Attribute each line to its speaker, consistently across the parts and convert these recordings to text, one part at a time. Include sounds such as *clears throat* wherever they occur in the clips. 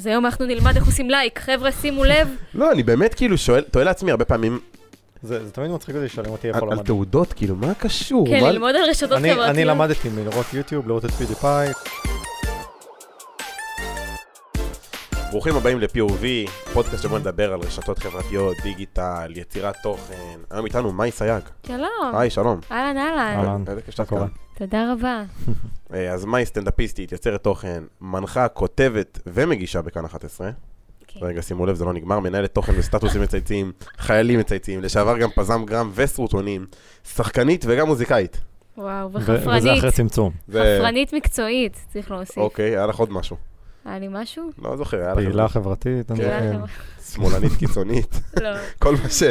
Speaker 1: אז היום אנחנו נלמד איך עושים לייק, חבר'ה שימו לב,
Speaker 2: לא, אני באמת כאילו שואל, תוהה לעצמי הרבה פעמים
Speaker 3: זה זה תמיד מצחיק אותי שואלים אותי
Speaker 2: על,
Speaker 3: איפה
Speaker 2: על
Speaker 3: למדתי.
Speaker 2: תעודות, כאילו, מה קשור?
Speaker 1: כן,
Speaker 2: מה-
Speaker 1: ללמוד על רשתות
Speaker 3: אני-
Speaker 1: חברתיות.
Speaker 3: אני למדתי מלראות יוטיוב, לראות את פידי פאי.
Speaker 2: ברוכים הבאים ל-POV, פודקאסט שבו נדבר על רשתות חברתיות, דיגיטל, יצירת תוכן. היום איתנו מאי סייג.
Speaker 1: שלום.
Speaker 2: היי, שלום.
Speaker 1: אהלן, אהלן.
Speaker 3: אהלן.
Speaker 2: איזה כיף שאתה
Speaker 3: מה קורה?
Speaker 2: כאן.
Speaker 1: תודה רבה.
Speaker 2: אה, אז מאי סטנדאפיסטית, יוצרת תוכן, מנחה, כותבת ומגישה בכאן 11.
Speaker 1: כן.
Speaker 2: רגע, שימו לב, זה לא נגמר. מנהלת תוכן וסטטוסים מצייצים, חיילים מצייצים, לשעבר גם פזם גרם וסרוטונים, שחקנית וגם מוזיקאית.
Speaker 1: וואו,
Speaker 3: ו- וזה אחרי
Speaker 1: וחפרנית.
Speaker 3: צמצום.
Speaker 2: זה-
Speaker 1: חפרנית מקצועית, צריך להוסיף.
Speaker 2: אוקיי, היה לך עוד משהו.
Speaker 1: היה לי משהו?
Speaker 2: לא זוכר, היה לך...
Speaker 3: פעילה חברתית. אני-
Speaker 1: תודה
Speaker 2: כן.
Speaker 1: לכם.
Speaker 2: שמאלנית קיצונית.
Speaker 1: לא.
Speaker 2: כל מה ש...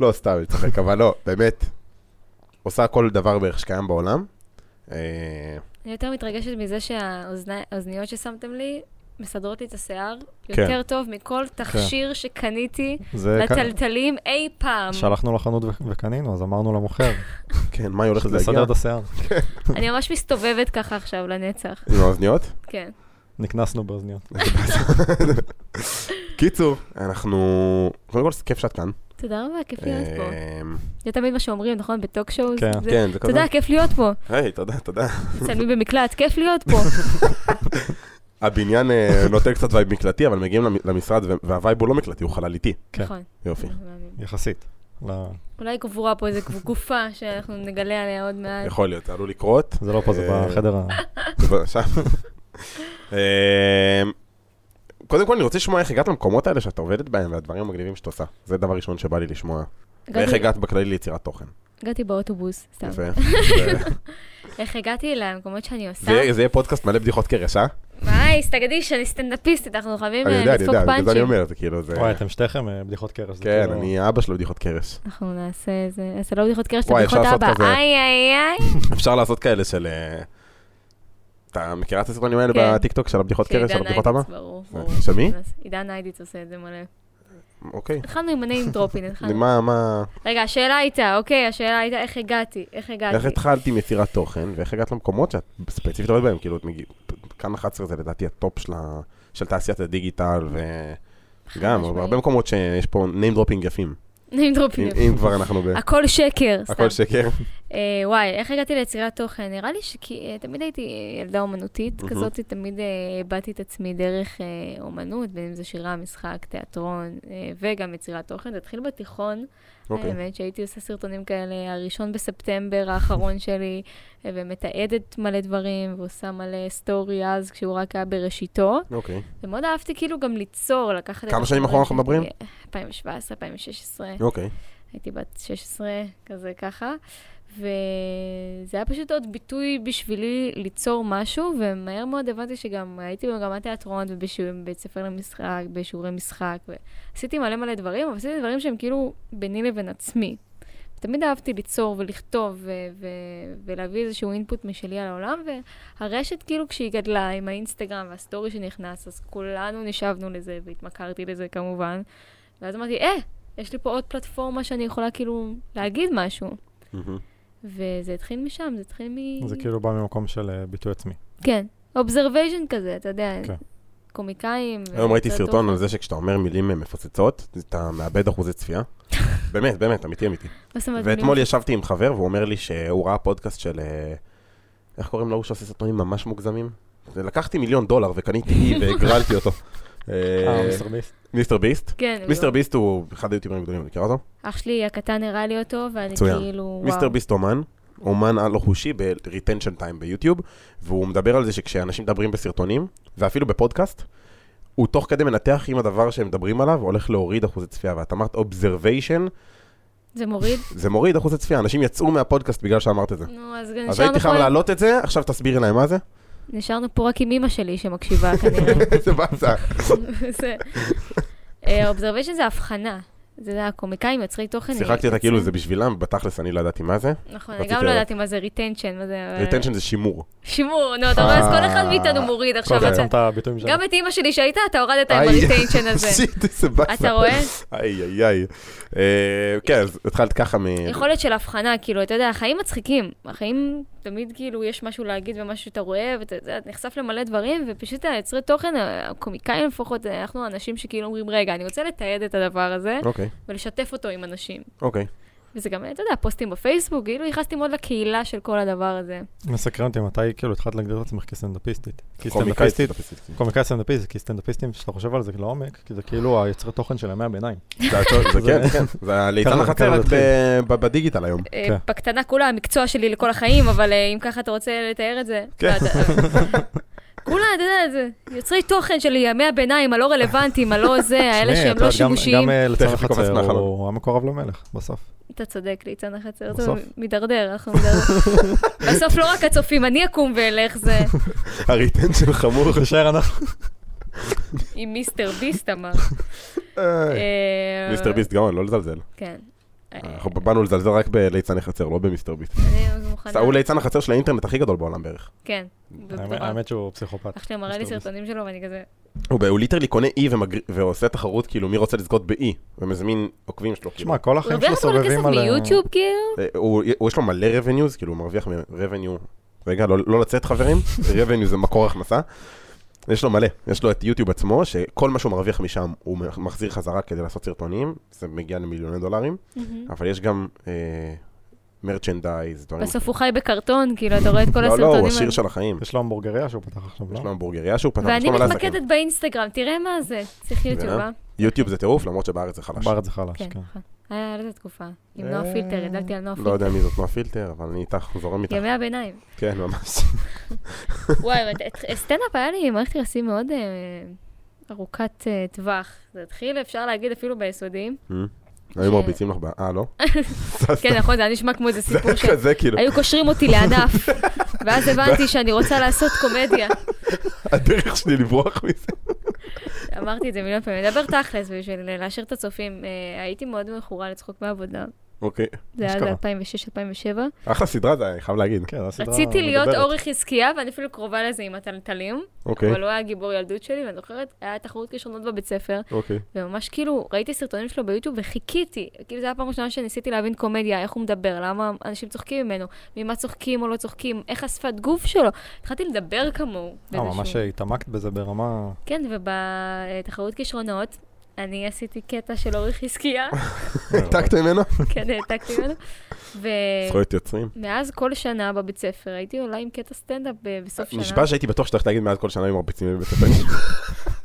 Speaker 2: לא, סתם, אני צוחק, אבל לא, באמת. עושה כל דבר בערך שקיים בעולם. אה,
Speaker 1: אני יותר מתרגשת מזה שהאוזניות ששמתם לי מסדרות לי את השיער
Speaker 3: כן.
Speaker 1: יותר טוב מכל תכשיר שקניתי
Speaker 3: זה כ-
Speaker 1: לטלטלים אי פעם.
Speaker 3: שלחנו לחנות ו- וקנינו, אז אמרנו
Speaker 2: *laughs*
Speaker 3: למוכר,
Speaker 2: כן, מה היא הולכת
Speaker 3: שזה
Speaker 2: להגיע?
Speaker 3: לסדר את השיער.
Speaker 1: אני ממש מסתובבת ככה עכשיו לנצח.
Speaker 2: עם האוזניות?
Speaker 1: כן.
Speaker 3: נקנסנו באוזניות.
Speaker 2: קיצור, אנחנו... קודם כל, זה כיף שאת כאן.
Speaker 1: תודה רבה, כיף להיות כן, פה.
Speaker 2: אה,
Speaker 1: זה תמיד מה שאומרים, נכון? בטוק שואו?
Speaker 3: כן.
Speaker 2: כן, זה כזה.
Speaker 1: תודה, כיף להיות פה.
Speaker 2: היי, תודה, תודה.
Speaker 1: תצלמי במקלט, כיף להיות
Speaker 2: *laughs*
Speaker 1: פה.
Speaker 2: הבניין אה, נותן קצת וייב מקלטי, אבל מגיעים למ- למשרד, ו- והווייב הוא לא מקלטי, הוא חלליתי.
Speaker 3: כן.
Speaker 1: נכון.
Speaker 2: יופי.
Speaker 3: יחסית. ל-
Speaker 1: אולי קבורה פה איזה גופה שאנחנו נגלה עליה עוד מעט.
Speaker 2: יכול להיות, זה עלול לקרות.
Speaker 3: זה לא פה, זה
Speaker 2: אה,
Speaker 3: בחדר ה...
Speaker 2: טוב, עכשיו. אמ, קודם כל, אני רוצה לשמוע איך הגעת למקומות האלה שאת עובדת בהם והדברים המגניבים שאת עושה. זה דבר ראשון שבא לי לשמוע. ואיך
Speaker 1: הגעתי-
Speaker 2: הגעת בכללי ליצירת תוכן.
Speaker 1: הגעתי באוטובוס, סתם.
Speaker 2: יפה. זה-
Speaker 1: איך הגעתי למקומות שאני עושה?
Speaker 2: זה יהיה- זה יהיה פודקאסט מלא בדיחות קרש, אה?
Speaker 1: היי, סתגדי שאני סטנדאפיסטית, אנחנו חייבים
Speaker 2: אני
Speaker 1: אה,
Speaker 2: יודע, אני
Speaker 1: לדפוק
Speaker 2: יודע, בגלל זה אני
Speaker 1: פאנצ'ים.
Speaker 2: אומר, זה כאילו, זה...
Speaker 3: וואי, אתם שתיכם אה, בדיחות קרש. זה
Speaker 2: כן,
Speaker 3: כאילו-
Speaker 2: אני אבא שלו בדיחות קרש. *laughs*
Speaker 1: אנחנו נעשה איזה, אז זה לא בדיחות קרש, זה
Speaker 2: וואי,
Speaker 1: בדיחות
Speaker 2: אפשר לעשות
Speaker 1: אבא.
Speaker 2: כזה.
Speaker 1: איי, איי, איי.
Speaker 2: אפשר לעשות כאלה של... אה, אתה מכירה את הסרטונים האלה
Speaker 1: כן.
Speaker 2: בטיקטוק של הבדיחות קרש, של
Speaker 1: שעידן
Speaker 2: הבדיחות אבא?
Speaker 1: איידיץ, ברור. ברור.
Speaker 2: שמי?
Speaker 1: עידן איידיץ עושה את זה מלא.
Speaker 2: אוקיי.
Speaker 1: התחלנו עם הניים
Speaker 2: *laughs*
Speaker 1: דרופין, התחלנו.
Speaker 2: מה, מה,
Speaker 1: רגע, השאלה הייתה, אוקיי, השאלה הייתה איך הגעתי, איך הגעתי.
Speaker 2: איך התחלת עם יצירת תוכן, ואיך הגעת למקומות שאת ספציפית עובדת בהם? כאילו, את מגיע- כאן 11 זה לדעתי הטופ של ה- של תעשיית הדיגיטל, וגם,
Speaker 1: משמעית.
Speaker 2: הרבה מקומות שיש פה name dropping יפים.
Speaker 1: נעים
Speaker 2: אם
Speaker 1: דרופים.
Speaker 2: אם כבר אנחנו ב...
Speaker 1: *laughs* הכל שקר, סתם.
Speaker 2: אוקיי. הכל שקר.
Speaker 1: אה, וואי, איך הגעתי ליצירת תוכן? נראה לי שתמיד הייתי ילדה אומנותית
Speaker 2: מהמם.
Speaker 1: כזאת, תמיד אה, הבעתי את עצמי דרך אה, אומנות, בין אם זה שירה, משחק, תיאטרון, אה, וגם יצירת תוכן. זה התחיל בתיכון,
Speaker 2: אוקיי.
Speaker 1: האמת שהייתי עושה סרטונים כאלה, הראשון בספטמבר האחרון שלי, אה, ומתעדת מלא דברים, ועושה מלא סטורי אז, כשהוא רק היה בראשיתו.
Speaker 2: אוקיי.
Speaker 1: ומאוד אהבתי כאילו גם ליצור, לקחת את... אה,
Speaker 2: כמה שנים אחורה אנחנו
Speaker 1: החומרים
Speaker 2: מדברים?
Speaker 1: שהייתי- 2017, 2016.
Speaker 2: אוקיי.
Speaker 1: הייתי בת 16, כזה ככה, וזה היה פשוט עוד ביטוי בשבילי ליצור משהו, ומהר מאוד הבנתי שגם הייתי במגמת תיאטרון ובבית ספר למשחק, בשיעורי משחק, ועשיתי מלא מלא דברים, אבל עשיתי דברים שהם כאילו ביני לבין עצמי. תמיד אהבתי ליצור ולכתוב ו- ו- ולהביא איזשהו אינפוט משלי על העולם, והרשת כאילו כשהיא גדלה עם האינסטגרם והסטורי שנכנס, אז כולנו נשבנו לזה והתמכרתי לזה כמובן. ואז אמרתי, אה, יש לי פה עוד פלטפורמה שאני יכולה כאילו להגיד משהו.
Speaker 2: מהמם.
Speaker 1: וזה התחיל משם, זה התחיל מ...
Speaker 3: זה כאילו בא ממקום של אה, ביטוי עצמי.
Speaker 1: כן, אובזרווייז'ן כזה, אתה יודע,
Speaker 3: כן.
Speaker 1: קומיקאים.
Speaker 2: היום ראיתי
Speaker 1: ויוצרי
Speaker 2: סרטון
Speaker 1: תוכן.
Speaker 2: על זה שכשאתה אומר מילים אה, מפוצצות, אתה מאבד אחוזי צפייה. באמת, באמת, אמיתי, אמיתי.
Speaker 1: מה זאת אומרת,
Speaker 2: ואתמול
Speaker 1: אני-
Speaker 2: ישבתי עם חבר, והוא אומר לי שהוא ראה פודקאסט של... אה, איך קוראים להוא שעושה סרטונים ממש מוגזמים? לקחתי מיליון דולר וקניתי *laughs* אי והגרלתי אותו. אה,
Speaker 3: אה, מיסטר ביסט.
Speaker 2: מיסטר ביסט.
Speaker 1: כן,
Speaker 2: מיסטר
Speaker 1: מיסטר...
Speaker 2: ביסט הוא אחד היוטיוברים הגדולים, מכירה אותו?
Speaker 1: אח שלי הקטן הראה לי אותו, ואני
Speaker 2: מצוין.
Speaker 1: כאילו, וואו.
Speaker 2: מיסטר ביסט אומן, אומן על לא חושי ב-retension time ביוטיוב, והוא מדבר על זה שכשאנשים מדברים בסרטונים, ואפילו בפודקאסט, הוא תוך כדי מנתח אם הדבר שהם מדברים עליו הולך להוריד אחוזי צפייה, ואת אמרת observation,
Speaker 1: זה
Speaker 2: *laughs*
Speaker 1: מוריד?
Speaker 2: זה מוריד אחוזי צפייה, אנשים יצאו מהפודקאסט בגלל שאמרת את זה.
Speaker 1: נו, אז
Speaker 2: אז הייתי
Speaker 1: נשארנו
Speaker 2: חייב
Speaker 1: פה...
Speaker 2: להעלות את זה, עכשיו תסבירי להם
Speaker 1: *laughs*
Speaker 2: מה זה.
Speaker 1: נשארנו פה רק עם אימא שלי
Speaker 2: *laughs*
Speaker 1: שמקשיבה כנראה.
Speaker 2: זה *laughs* באסה.
Speaker 1: זה... אובזרווייז'ן זה הבחנה. זה הקומיקאים, יוצרי תוכן.
Speaker 2: שיחקתי אותה
Speaker 1: יוצרים-
Speaker 2: כאילו זה בשבילם, בתתכלס אני לא ידעתי מה זה.
Speaker 1: נכון, אני
Speaker 2: רציתי
Speaker 1: גם לא
Speaker 2: לדעת.
Speaker 1: ידעתי מה זה ריטנשן, מה זה...
Speaker 2: retention זה שימור.
Speaker 1: שימור, נו, אתה רואה, אז כל אחד
Speaker 2: אה,
Speaker 1: מאיתנו מוריד
Speaker 3: כל
Speaker 1: עכשיו.
Speaker 3: אחד
Speaker 1: אתה-
Speaker 3: שם את הביטויים שלו.
Speaker 1: גם את אימא שלי שהייתה, אתה הורדת עם
Speaker 2: איי.
Speaker 1: הריטיינשן
Speaker 2: *laughs*
Speaker 1: הזה.
Speaker 2: שיט, איזה באסה.
Speaker 1: אתה
Speaker 2: *laughs*
Speaker 1: רואה?
Speaker 2: איי, איי, איי. אה, כן, אז התחלת ככה מ...
Speaker 1: יכולת של הבחנה, כאילו, אתה יודע, החיים מצחיקים. החיים, אתה תמיד כאילו יש משהו להגיד ומשהו שאתה רואה, ואתה זה, אתה נחשף למלא דברים, ופשוט היוצרי תוכן, הקומיקאים לפחות, אנחנו אנשים שכאילו אומרים, רגע, אני רוצה לתעד את הדבר הזה,
Speaker 2: אוקיי,
Speaker 1: ולשתף אותו עם אנשים.
Speaker 2: אוקיי.
Speaker 1: וזה גם, אתה יודע, פוסטים בפייסבוק, כאילו נכנסתי מאוד לקהילה של כל הדבר הזה.
Speaker 3: מסקרן אותי מתי כאילו התחלת להגדיר את עצמך כסטנדאפיסטית. כי
Speaker 2: קומיקאי,
Speaker 3: סטנדאפיסטית,
Speaker 2: סטנדאפיסטית.
Speaker 3: קומיקאי סטנדאפיסט, כי סטנדאפיסטים, כשאתה חושב על זה לעומק, כי זה כאילו היוצרי תוכן של ימי הביניים.
Speaker 2: זה הכל-
Speaker 3: *laughs*
Speaker 2: זה כן, זה כן. זה הליצן
Speaker 3: כמה- כמה
Speaker 2: החצרת
Speaker 3: זה
Speaker 2: ב- ב- בדיגיטל היום.
Speaker 1: אה,
Speaker 3: כן.
Speaker 1: בקטנה כולה, המקצוע שלי לכל החיים, *laughs* אבל אה, אם ככה אתה רוצה לתאר את זה.
Speaker 2: כן.
Speaker 1: אתה- אה, כולה, אתה יודע, זה יוצרי תוכן של ימי הביניים, הלא רלוונטיים, הלא
Speaker 3: *laughs*
Speaker 1: זה, האלה
Speaker 3: תשמעי,
Speaker 1: שהם לא
Speaker 3: את יודעת, גם-
Speaker 1: שיבושיים.
Speaker 3: גם אה, לצד
Speaker 2: תכף היא קופצת
Speaker 3: החצר
Speaker 2: מהחלון.
Speaker 3: הוא המקורב למלך, בסוף. *laughs*
Speaker 1: אתה צודק, ליצן החצר, זה
Speaker 3: בסוף.
Speaker 1: מידרדר, אנחנו מידרדר.
Speaker 3: *laughs*
Speaker 1: בסוף לא רק הצופים, אני אקום ואלך, זה אה.
Speaker 2: הריטן של חמור.
Speaker 3: תישאר אנחנו.
Speaker 1: עם מיסטר ביסט
Speaker 3: *laughs*
Speaker 1: אמר. אה,
Speaker 2: מיסטר ביסט גאון, לא לזלזל.
Speaker 1: כן. אה,
Speaker 2: אנחנו באנו לזלזל רק בליצני חצר, לא במיסטר ביסט.
Speaker 1: אני מוכנה.
Speaker 2: הוא ליצן החצר של האינטרנט הכי גדול בעולם בערך.
Speaker 1: כן.
Speaker 3: האמת-
Speaker 1: בטוח. אה,
Speaker 3: האמת שהוא פסיכופת.
Speaker 1: אח שלי מראה לי
Speaker 3: מיסטר ביסט.
Speaker 1: סרטונים שלו ואני כזה,
Speaker 2: הוא ב- הוא ליטרלי קונה אי ומגר- ועושה תחרות, כאילו, מי רוצה לזכות באי, ומזמין עוקבים שלו, כאילו.
Speaker 3: תשמע, כל
Speaker 1: הוא
Speaker 3: החיים
Speaker 1: הרוויח
Speaker 3: שלו
Speaker 1: את כל
Speaker 3: סובבים
Speaker 1: הכסף
Speaker 3: על...
Speaker 1: מיוטיוב כאילו?
Speaker 2: אה, הוא- הוא- יש לו מלא רבניוז, כאילו, הוא מרוויח מרבניו, רגע, לא- לא לצאת חברים, *laughs* רבניו זה מקור הכנסה. יש לו מלא, יש לו את יוטיוב עצמו, שכל מה שהוא מרוויח משם, הוא מח- מחזיר חזרה כדי לעשות סרטונים, זה מגיע למיליוני דולרים, אבל יש גם אה, מרצ'נדייז, דברים.
Speaker 1: בסוף הוא חי בקרטון, כאילו, אתה רואה את כל
Speaker 2: לא,
Speaker 1: הסרטונים.
Speaker 2: לא, הוא
Speaker 1: האלה.
Speaker 2: עשיר של החיים.
Speaker 3: יש לו המבורגריה שהוא פתח עכשיו,
Speaker 2: יש
Speaker 3: לא?
Speaker 2: לו המבורגריה שהוא פתח, יש
Speaker 1: ואני
Speaker 2: לו מלא עסקים.
Speaker 1: מתמקדת באינסטגרם, תראה מה זה. צריך יוטיוב, אה?
Speaker 2: יוטיוב זה טירוף, למרות שבארץ זה חלש.
Speaker 3: בארץ זה חלש,
Speaker 1: כן,
Speaker 3: כן.
Speaker 1: נכון. היה לזה תקופה. עם
Speaker 2: אה,
Speaker 1: נועה פילטר, ידעתי על נועה
Speaker 2: לא
Speaker 1: פילטר.
Speaker 2: יודע מי זאת נועה פילטר, אבל אני איתך, זורם איתך.
Speaker 1: ימי
Speaker 2: *laughs*
Speaker 1: הביניים.
Speaker 2: כן, ממש.
Speaker 1: וואי, אבל את- את- סטנדאפ היה לי מערכת יחסים מאוד אה, ארוכת אה, טווח. זה התחיל, אפשר להגיד, אפילו
Speaker 2: *laughs*
Speaker 1: ביסודיים.
Speaker 2: היו מרביצים לך ב... אה, לא?
Speaker 1: *laughs* כן, נכון, זה היה נשמע כמו איזה סיפור ש...
Speaker 2: כזה, כאילו,
Speaker 1: היו קושרים אותי לענף,
Speaker 2: *laughs*
Speaker 1: ואז הבנתי שאני רוצה לעשות קומדיה.
Speaker 2: הדרך שלי לברוח מזה.
Speaker 1: אמרתי את זה מיליון פעמים. לדבר תכלס בשביל להשאיר את הצופים. אה, הייתי מאוד מכורה לצחוק מהעבודה.
Speaker 2: אוקיי.
Speaker 1: זה היה
Speaker 3: אשכרה.
Speaker 1: 2006-2007.
Speaker 2: אחלה סדרה זה היה, אני חייב להגיד.
Speaker 3: כן, הסדרה
Speaker 1: רציתי להיות
Speaker 3: מדברת.
Speaker 1: אורי חזקיה, ואני אפילו קרובה לזה עם הטלטלים,
Speaker 2: אוקיי,
Speaker 1: אבל הוא היה גיבור ילדות שלי, ואני זוכרת, היה תחרות כישרונות בבית ספר,
Speaker 2: אוקיי.
Speaker 1: וממש כאילו, ראיתי סרטונים שלו ביוטיוב וחיכיתי. כאילו, זו הייתה פעם ראשונה שניסיתי להבין קומדיה, איך הוא מדבר, למה אנשים צוחקים ממנו, ממה צוחקים או לא צוחקים, איך השפת גוף שלו. התחלתי לדבר כמוהו.
Speaker 3: אה,
Speaker 1: באיזשהו-
Speaker 3: ממש התעמקת בזה ברמה...
Speaker 1: כן, ובתחרות כישרונות, אני עשיתי קטע של אורי
Speaker 3: *laughs*
Speaker 1: חזקיה,
Speaker 2: העתקת ממנו?
Speaker 1: כן, העתקתי ממנו. ו...
Speaker 2: זכויות יוצרים.
Speaker 1: מאז כל שנה בבית ספר, הייתי עולה עם קטע סטנדאפ ב- בסוף שנה.
Speaker 2: אה, נשבע שהייתי בטוח שאתה הולך להגיד מאז כל שנה הם מרביצים לי בבית הספר.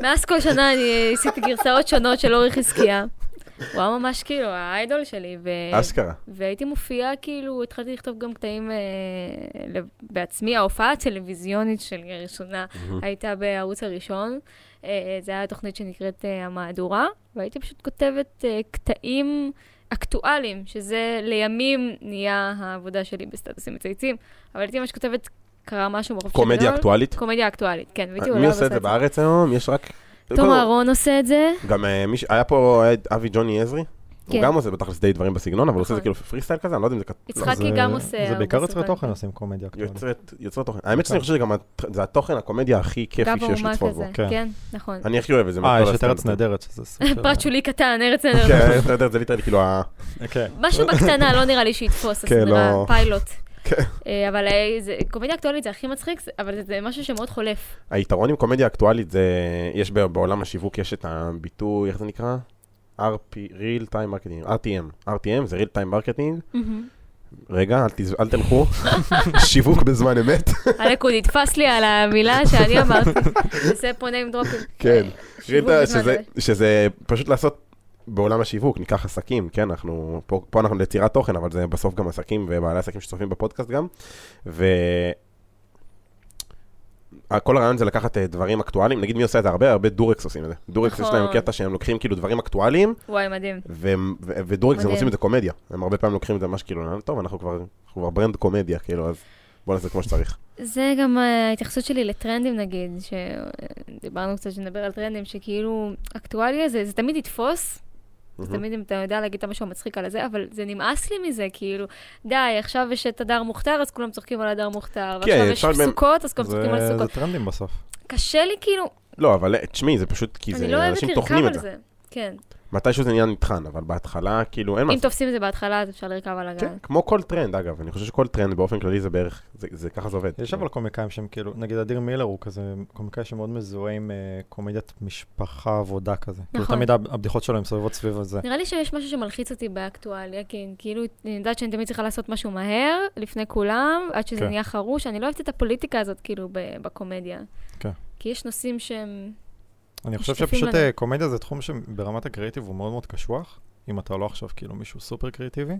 Speaker 1: מאז כל שנה אני עשיתי גרסאות שונות של אורי חזקיה. הוא היה ממש כאילו האיידול שלי, ו...
Speaker 2: *laughs* אשכרה.
Speaker 1: והייתי מופיעה, כאילו, התחלתי לכתוב גם קטעים אה, לב- בעצמי. ההופעה הטלוויזיונית שלי הראשונה הייתה בערוץ הראשון. אה, אה, זו הייתה תוכנית שנקראת אה, המהדורה, והייתי פשוט כותבת אה, קטעים אקטואליים, שזה לימים נהיה העבודה שלי בסטטוסים מצייצים, אבל הייתי ממש כותבת, קרה משהו בחופש הגדול.
Speaker 2: קומדיה אקטואלית? אה,
Speaker 1: קומדיה אקטואלית, כן, והייתי עולה
Speaker 2: מי עושה את זה
Speaker 1: בסטטוס.
Speaker 2: בארץ היום? יש רק...
Speaker 1: תום
Speaker 2: קודם,
Speaker 1: אהרון עושה את זה.
Speaker 2: גם אה, מי ש... היה פה היה את אבי ג'וני עזרי. הוא
Speaker 1: כן.
Speaker 2: גם עושה בתכלס די דברים בסגנון, אבל הוא עושה את זה
Speaker 1: נכון.
Speaker 2: כאילו פרי סטייל כזה, אני לא יודע אם זה... כת- לא,
Speaker 1: יצחקי
Speaker 3: זה-
Speaker 1: גם עושה
Speaker 3: זה
Speaker 1: הרבה
Speaker 3: בעיקר יוצרי
Speaker 1: סרטונים.
Speaker 3: תוכן עושים קומדיה אקטואלית.
Speaker 2: יוצרת, יוצרת תוכן. האמת שאני חושב שגם הת- זה התוכן, הקומדיה הכי כיפי
Speaker 1: נכון. גב
Speaker 2: שיש
Speaker 1: האומה
Speaker 2: לצפות בו.
Speaker 1: כזה,
Speaker 3: כן.
Speaker 1: כן, נכון.
Speaker 2: אני הכי אוהב את זה.
Speaker 3: אה,
Speaker 2: מכל
Speaker 3: יש את ארץ
Speaker 2: הסטנדאפ.
Speaker 3: נהדרת, שזה סוג
Speaker 1: *laughs*
Speaker 3: של...
Speaker 1: פרט שולי קטן, ארץ נהדרת.
Speaker 2: כן, אתה יודע, זה ליטרלי כאילו ה...
Speaker 3: כן.
Speaker 1: משהו בקטנה, לא נראה לי שיתפוס
Speaker 2: כן,
Speaker 1: הסדרה,
Speaker 2: לא.
Speaker 1: פיילוט.
Speaker 2: כן.
Speaker 1: אה, אבל אה, זה- קומדיה אקטואלית זה הכי מצחיק, זה- אבל זה משהו שמאוד חולף.
Speaker 2: היתרון עם קומדיה אקטואלית זה, יש ב- בעולם השיווק, יש את הביטוי, איך זה נקרא? RP, real time marketing, RTM, RTM זה real time marketing, רגע, אל, תז... אל *laughs* תלכו, שיווק בזמן אמת,
Speaker 1: הליכוד נתפס לי על המילה
Speaker 2: *laughs*
Speaker 1: שאני אמרתי. זה פה אה, נעים דרופים.
Speaker 2: כן.
Speaker 1: שיווק
Speaker 2: real time,
Speaker 1: בזמן
Speaker 2: שזה,
Speaker 1: אמת.
Speaker 2: שזה פשוט לעשות בעולם השיווק, ניקח עסקים, כן, אנחנו, פה, פה אנחנו ליצירת תוכן, אבל זה בסוף גם עסקים ובעלי עסקים שצופים בפודקאסט גם, ו... כל הרעיון זה לקחת אה, דברים אקטואליים, נגיד מי עושה את זה הרבה? הרבה דורקס עושים את זה. דורקס יש להם
Speaker 1: נכון.
Speaker 2: קטע שהם לוקחים כאילו דברים אקטואליים,
Speaker 1: וואי, מדהים.
Speaker 2: והם- ו- ודורקס הם
Speaker 1: מדהים.
Speaker 2: עושים את זה קומדיה, הם הרבה פעמים לוקחים את זה ממש כאילו, טוב, אנחנו כבר אנחנו כבר ברנד קומדיה, כאילו, אז בוא נעשה כמו שצריך.
Speaker 1: זה גם אה, ההתייחסות שלי לטרנדים נגיד, שדיברנו קצת שנדבר על טרנדים, שכאילו אקטואליה זה, זה תמיד יתפוס, זה
Speaker 2: מהמם.
Speaker 1: תמיד אם אתה יודע להגיד את המשהו המצחיק על הזה, אבל זה נמאס לי מזה, כאילו, די, עכשיו יש את הדר מוכתר, אז כולם צוחקים על הדר מוכתר,
Speaker 2: כן,
Speaker 1: ועכשיו יש
Speaker 2: אפשר באמת-
Speaker 1: סוכות, אז כולם
Speaker 3: זה-
Speaker 1: צוחקים על
Speaker 3: זה
Speaker 1: סוכות.
Speaker 3: טרנדים בסוף.
Speaker 1: קשה לי כאילו,
Speaker 2: לא, אבל אה, תשמעי, זה פשוט כי
Speaker 1: אני
Speaker 2: זה,
Speaker 1: לא אוהבת
Speaker 2: אנשים
Speaker 1: לרכב
Speaker 2: טוחנים
Speaker 1: על
Speaker 2: את זה.
Speaker 1: זה. כן.
Speaker 2: מתישהו זה נהיה נטחן, אבל בהתחלה, כאילו, אין מה
Speaker 1: אם תופסים את זה בהתחלה, אז אפשר לרכב על הגל.
Speaker 2: כן, כמו כל טרנד, אגב. אני חושב שכל טרנד באופן כללי זה בערך, זה, זה ככה זה עובד.
Speaker 1: כן.
Speaker 3: יש אבל קומיקאים שהם כאילו, נגיד אדיר מילר הוא כזה קומיקאי שמאוד מזוהה עם אה, קומדיית משפחה עבודה כזה. כאילו
Speaker 1: נכון.
Speaker 3: תמיד הב- הבדיחות שלו הן סובבות סביב הזה.
Speaker 1: נראה לי שיש משהו שמלחיץ אותי באקטואליה, כי אני כאילו, אני יודעת שאני תמיד צריכה לעשות משהו מהר, לפני כולם, עד שזה
Speaker 3: כן.
Speaker 1: נהיה חרוש. אני לא אוהבת את הפוליטיקה הזאת, כאילו, ב- בקומדיה.
Speaker 3: כן.
Speaker 1: כי יש נושאים שהם...
Speaker 3: אני חושב
Speaker 1: משתתפים
Speaker 3: שפשוט
Speaker 1: כן, לנו.
Speaker 3: אה, קומדיה זה תחום שברמת הקריאיטיב הוא מאוד מאוד קשוח, אם אתה לא עכשיו כאילו מישהו סופר קריאיטיבי,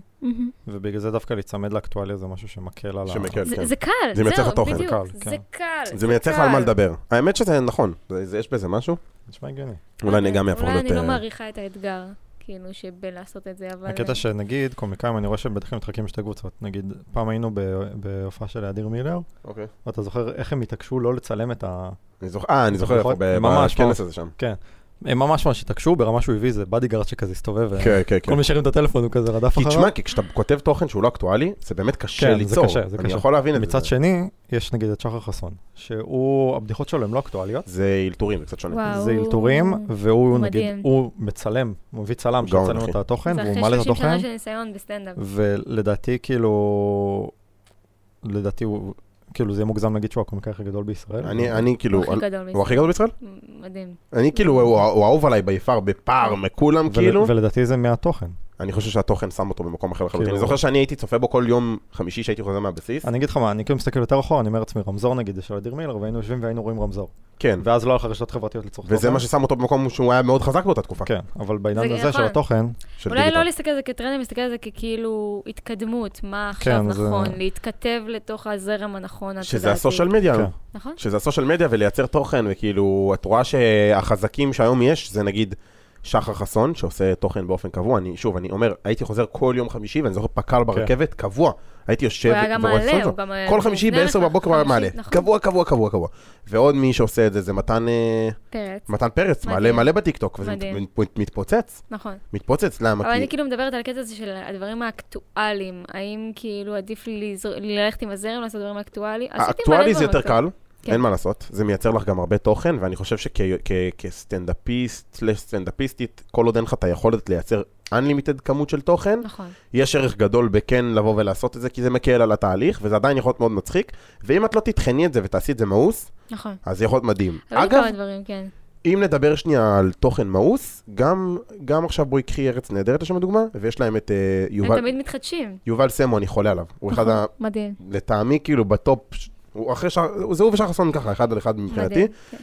Speaker 3: ובגלל זה דווקא להיצמד לאקטואליה זה משהו שמקל על ה...
Speaker 2: שמקל,
Speaker 1: זה-
Speaker 2: כן.
Speaker 1: זה קל,
Speaker 2: זה מייצר לך
Speaker 1: זהו,
Speaker 2: תוכן.
Speaker 1: בדיוק.
Speaker 3: קל,
Speaker 1: זה
Speaker 3: כן.
Speaker 1: קל,
Speaker 2: זה מייצר לך על מה לדבר. האמת שזה נכון, זה, זה, יש בזה משהו.
Speaker 3: נשמע הגיוני.
Speaker 2: אולי אני גם יהפוך
Speaker 1: אולי
Speaker 2: להיות...
Speaker 1: אני לא
Speaker 2: אה,
Speaker 1: מעריכה את האתגר, כאילו, שבין לעשות את זה, אבל...
Speaker 3: הקטע שנגיד, קומיקאים, אני רואה שהם בטח מתחלקים לשתי קבוצות. נגיד, פעם היינו ב- בהופעה של אדיר מילר,
Speaker 2: אוקיי.
Speaker 3: ואתה זוכר איך הם התעקשו לא לצלם את ה...
Speaker 2: אני זוכר, אה, אני זוכר איפה,
Speaker 3: נכון?
Speaker 2: ב-
Speaker 3: ממש,
Speaker 2: בכנס
Speaker 3: ממש.
Speaker 2: הזה שם.
Speaker 3: הם ממש ממש התעקשו ברמה שהוא הביא איזה בדיגארד שכזה הסתובב, אה,
Speaker 2: כן, כן, כן.
Speaker 3: כל מי שהרים לא את הטלפון הוא כזה רדף
Speaker 2: כי
Speaker 3: אחריו.
Speaker 2: תשמע, כי כשאתה כותב תוכן שהוא לא אקטואלי, זה באמת קשה
Speaker 3: כן, זה
Speaker 2: ליצור.
Speaker 3: קשה, זה
Speaker 2: אני
Speaker 3: קשה.
Speaker 2: יכול להבין את זה.
Speaker 3: מצד שני, יש נגיד את שחר חסון, שהוא, הבדיחות שלו הן לא אקטואליות,
Speaker 2: זה אלתורים, זה קצת שונה.
Speaker 1: וואו.
Speaker 3: זה אלתורים, והוא נגיד,
Speaker 1: מדהים.
Speaker 3: הוא מצלם, הוא מביא צלם
Speaker 2: גאון,
Speaker 3: שיצלם
Speaker 2: אחי.
Speaker 3: לו את התוכן,
Speaker 1: זה
Speaker 3: והוא מעלה את
Speaker 1: אחרי 30
Speaker 3: התוכן,
Speaker 1: שנה של ניסיון בסטנדאפ.
Speaker 3: ולדעתי כאילו, לדעתי הוא, כאילו זה יהיה מוגזם להגיד שהוא הקומיקאי הכי גדול בישראל.
Speaker 2: אני, אני כאילו,
Speaker 1: הוא הכי גדול
Speaker 2: הוא הכי גדול בישראל?
Speaker 1: מ- מדהים.
Speaker 2: אני כאילו, הוא- הוא אהוב עליי ביפר בפער מכולם,
Speaker 3: ול-
Speaker 2: כאילו.
Speaker 3: ולדעתי זה מהתוכן.
Speaker 2: אני חושב שהתוכן שם אותו במקום אחר לחלוטין.
Speaker 3: כאילו-
Speaker 2: אני זוכר שאני הייתי צופה בו כל יום חמישי שהייתי חוזר מהבסיס.
Speaker 3: אני אגיד לך מה, אני כאילו מסתכל יותר אחורה, אני אומר לעצמי, רמזור נגיד, זה של אדיר מילר, והיינו יושבים והיינו רואים רמזור.
Speaker 2: כן,
Speaker 3: ואז לא היה לך רשתות חברתיות לצורך
Speaker 2: וזה מה ששם אותו במקום שהוא היה מאוד חזק באותה תקופה.
Speaker 3: כן, אבל בעידן
Speaker 1: זה
Speaker 3: הזה של
Speaker 1: נכון.
Speaker 3: התוכן,
Speaker 2: של
Speaker 1: אולי
Speaker 2: דיגיטל.
Speaker 1: לא להסתכל על זה כטרנד, להסתכל על זה ככאילו התקדמות, מה עכשיו
Speaker 3: כן, זה-
Speaker 1: נכון, להתכתב לתוך הזרם הנכון, את
Speaker 2: אה, שזה
Speaker 1: יודעת,
Speaker 2: הסושיאל מדיה. לא.
Speaker 3: כן.
Speaker 1: נכון?
Speaker 2: שזה הסושיאל מדיה ולייצר תוכן, וכאילו, את רואה שהחזקים שהיום יש, זה נגיד שחר חסון, שעושה תוכן באופן קבוע. אני, שוב, אני אומר, הייתי חוזר כל יום חמישי, ואני זוכר
Speaker 3: כן.
Speaker 2: פק"ל ברכבת, קבוע. הייתי יושב
Speaker 1: הוא היה גם
Speaker 2: ורואה
Speaker 1: מעלה,
Speaker 2: סרטון.
Speaker 1: הוא גם...
Speaker 2: כל חמישי
Speaker 1: לפני
Speaker 2: ב-10
Speaker 1: לך,
Speaker 2: בבוקר הוא היה
Speaker 1: חמישי,
Speaker 2: מעלה.
Speaker 1: נכון.
Speaker 2: קבוע, קבוע, קבוע, קבוע. ועוד מי שעושה את זה, זה מתן, אה,
Speaker 1: פרץ,
Speaker 2: מתן פרץ,
Speaker 1: מדהים.
Speaker 2: מעלה מלא בטיקטוק, וזה מת-
Speaker 1: מדהים.
Speaker 2: מת- מתפוצץ.
Speaker 1: נכון.
Speaker 2: מתפוצץ, למה?
Speaker 1: אבל
Speaker 2: כי-
Speaker 1: אני כאילו מדברת על הקטע הזה של הדברים האקטואליים. האם כאילו עדיף לי לזר- ללכת עם הזרם לעשות דברים אקטואליים? עשיתי מלא
Speaker 2: האקטואלי זה
Speaker 1: דברים
Speaker 2: יותר קל,
Speaker 1: כן.
Speaker 2: אין מה לעשות, זה מייצר לך גם הרבה תוכן, ואני חושב שכסטנדאפיסט, סלש סטנדאפיסטית, כל עוד אין לך את היכולת לייצר unlimited כמות של תוכן,
Speaker 1: נכון.
Speaker 2: יש ערך גדול בכן לבוא ולעשות את זה, כי זה מקל על התהליך, וזה עדיין יכול להיות מאוד מצחיק, ואם את לא תטחני את זה ותעשי את זה מאוס,
Speaker 1: נכון.
Speaker 2: אז זה יכול להיות מדהים.
Speaker 1: היו לי
Speaker 2: אגב,
Speaker 1: כמה דברים, כן.
Speaker 2: אם נדבר שנייה על תוכן מאוס, גם, גם עכשיו בואי קחי ארץ נהדרת לשם הדוגמה, ויש להם את אה,
Speaker 1: הם
Speaker 2: יובל,
Speaker 1: תמיד מתחדשים. נכון,
Speaker 2: יובל סמו, אני חולה עליו. הוא אחד ה...
Speaker 1: מדהים.
Speaker 2: לטעמי, כאילו, בטופ, ש- הוא אחרי ש... זה הוא ושחר חסון ככה, אחד על אחד מבחינתי,
Speaker 1: מדהים. כן.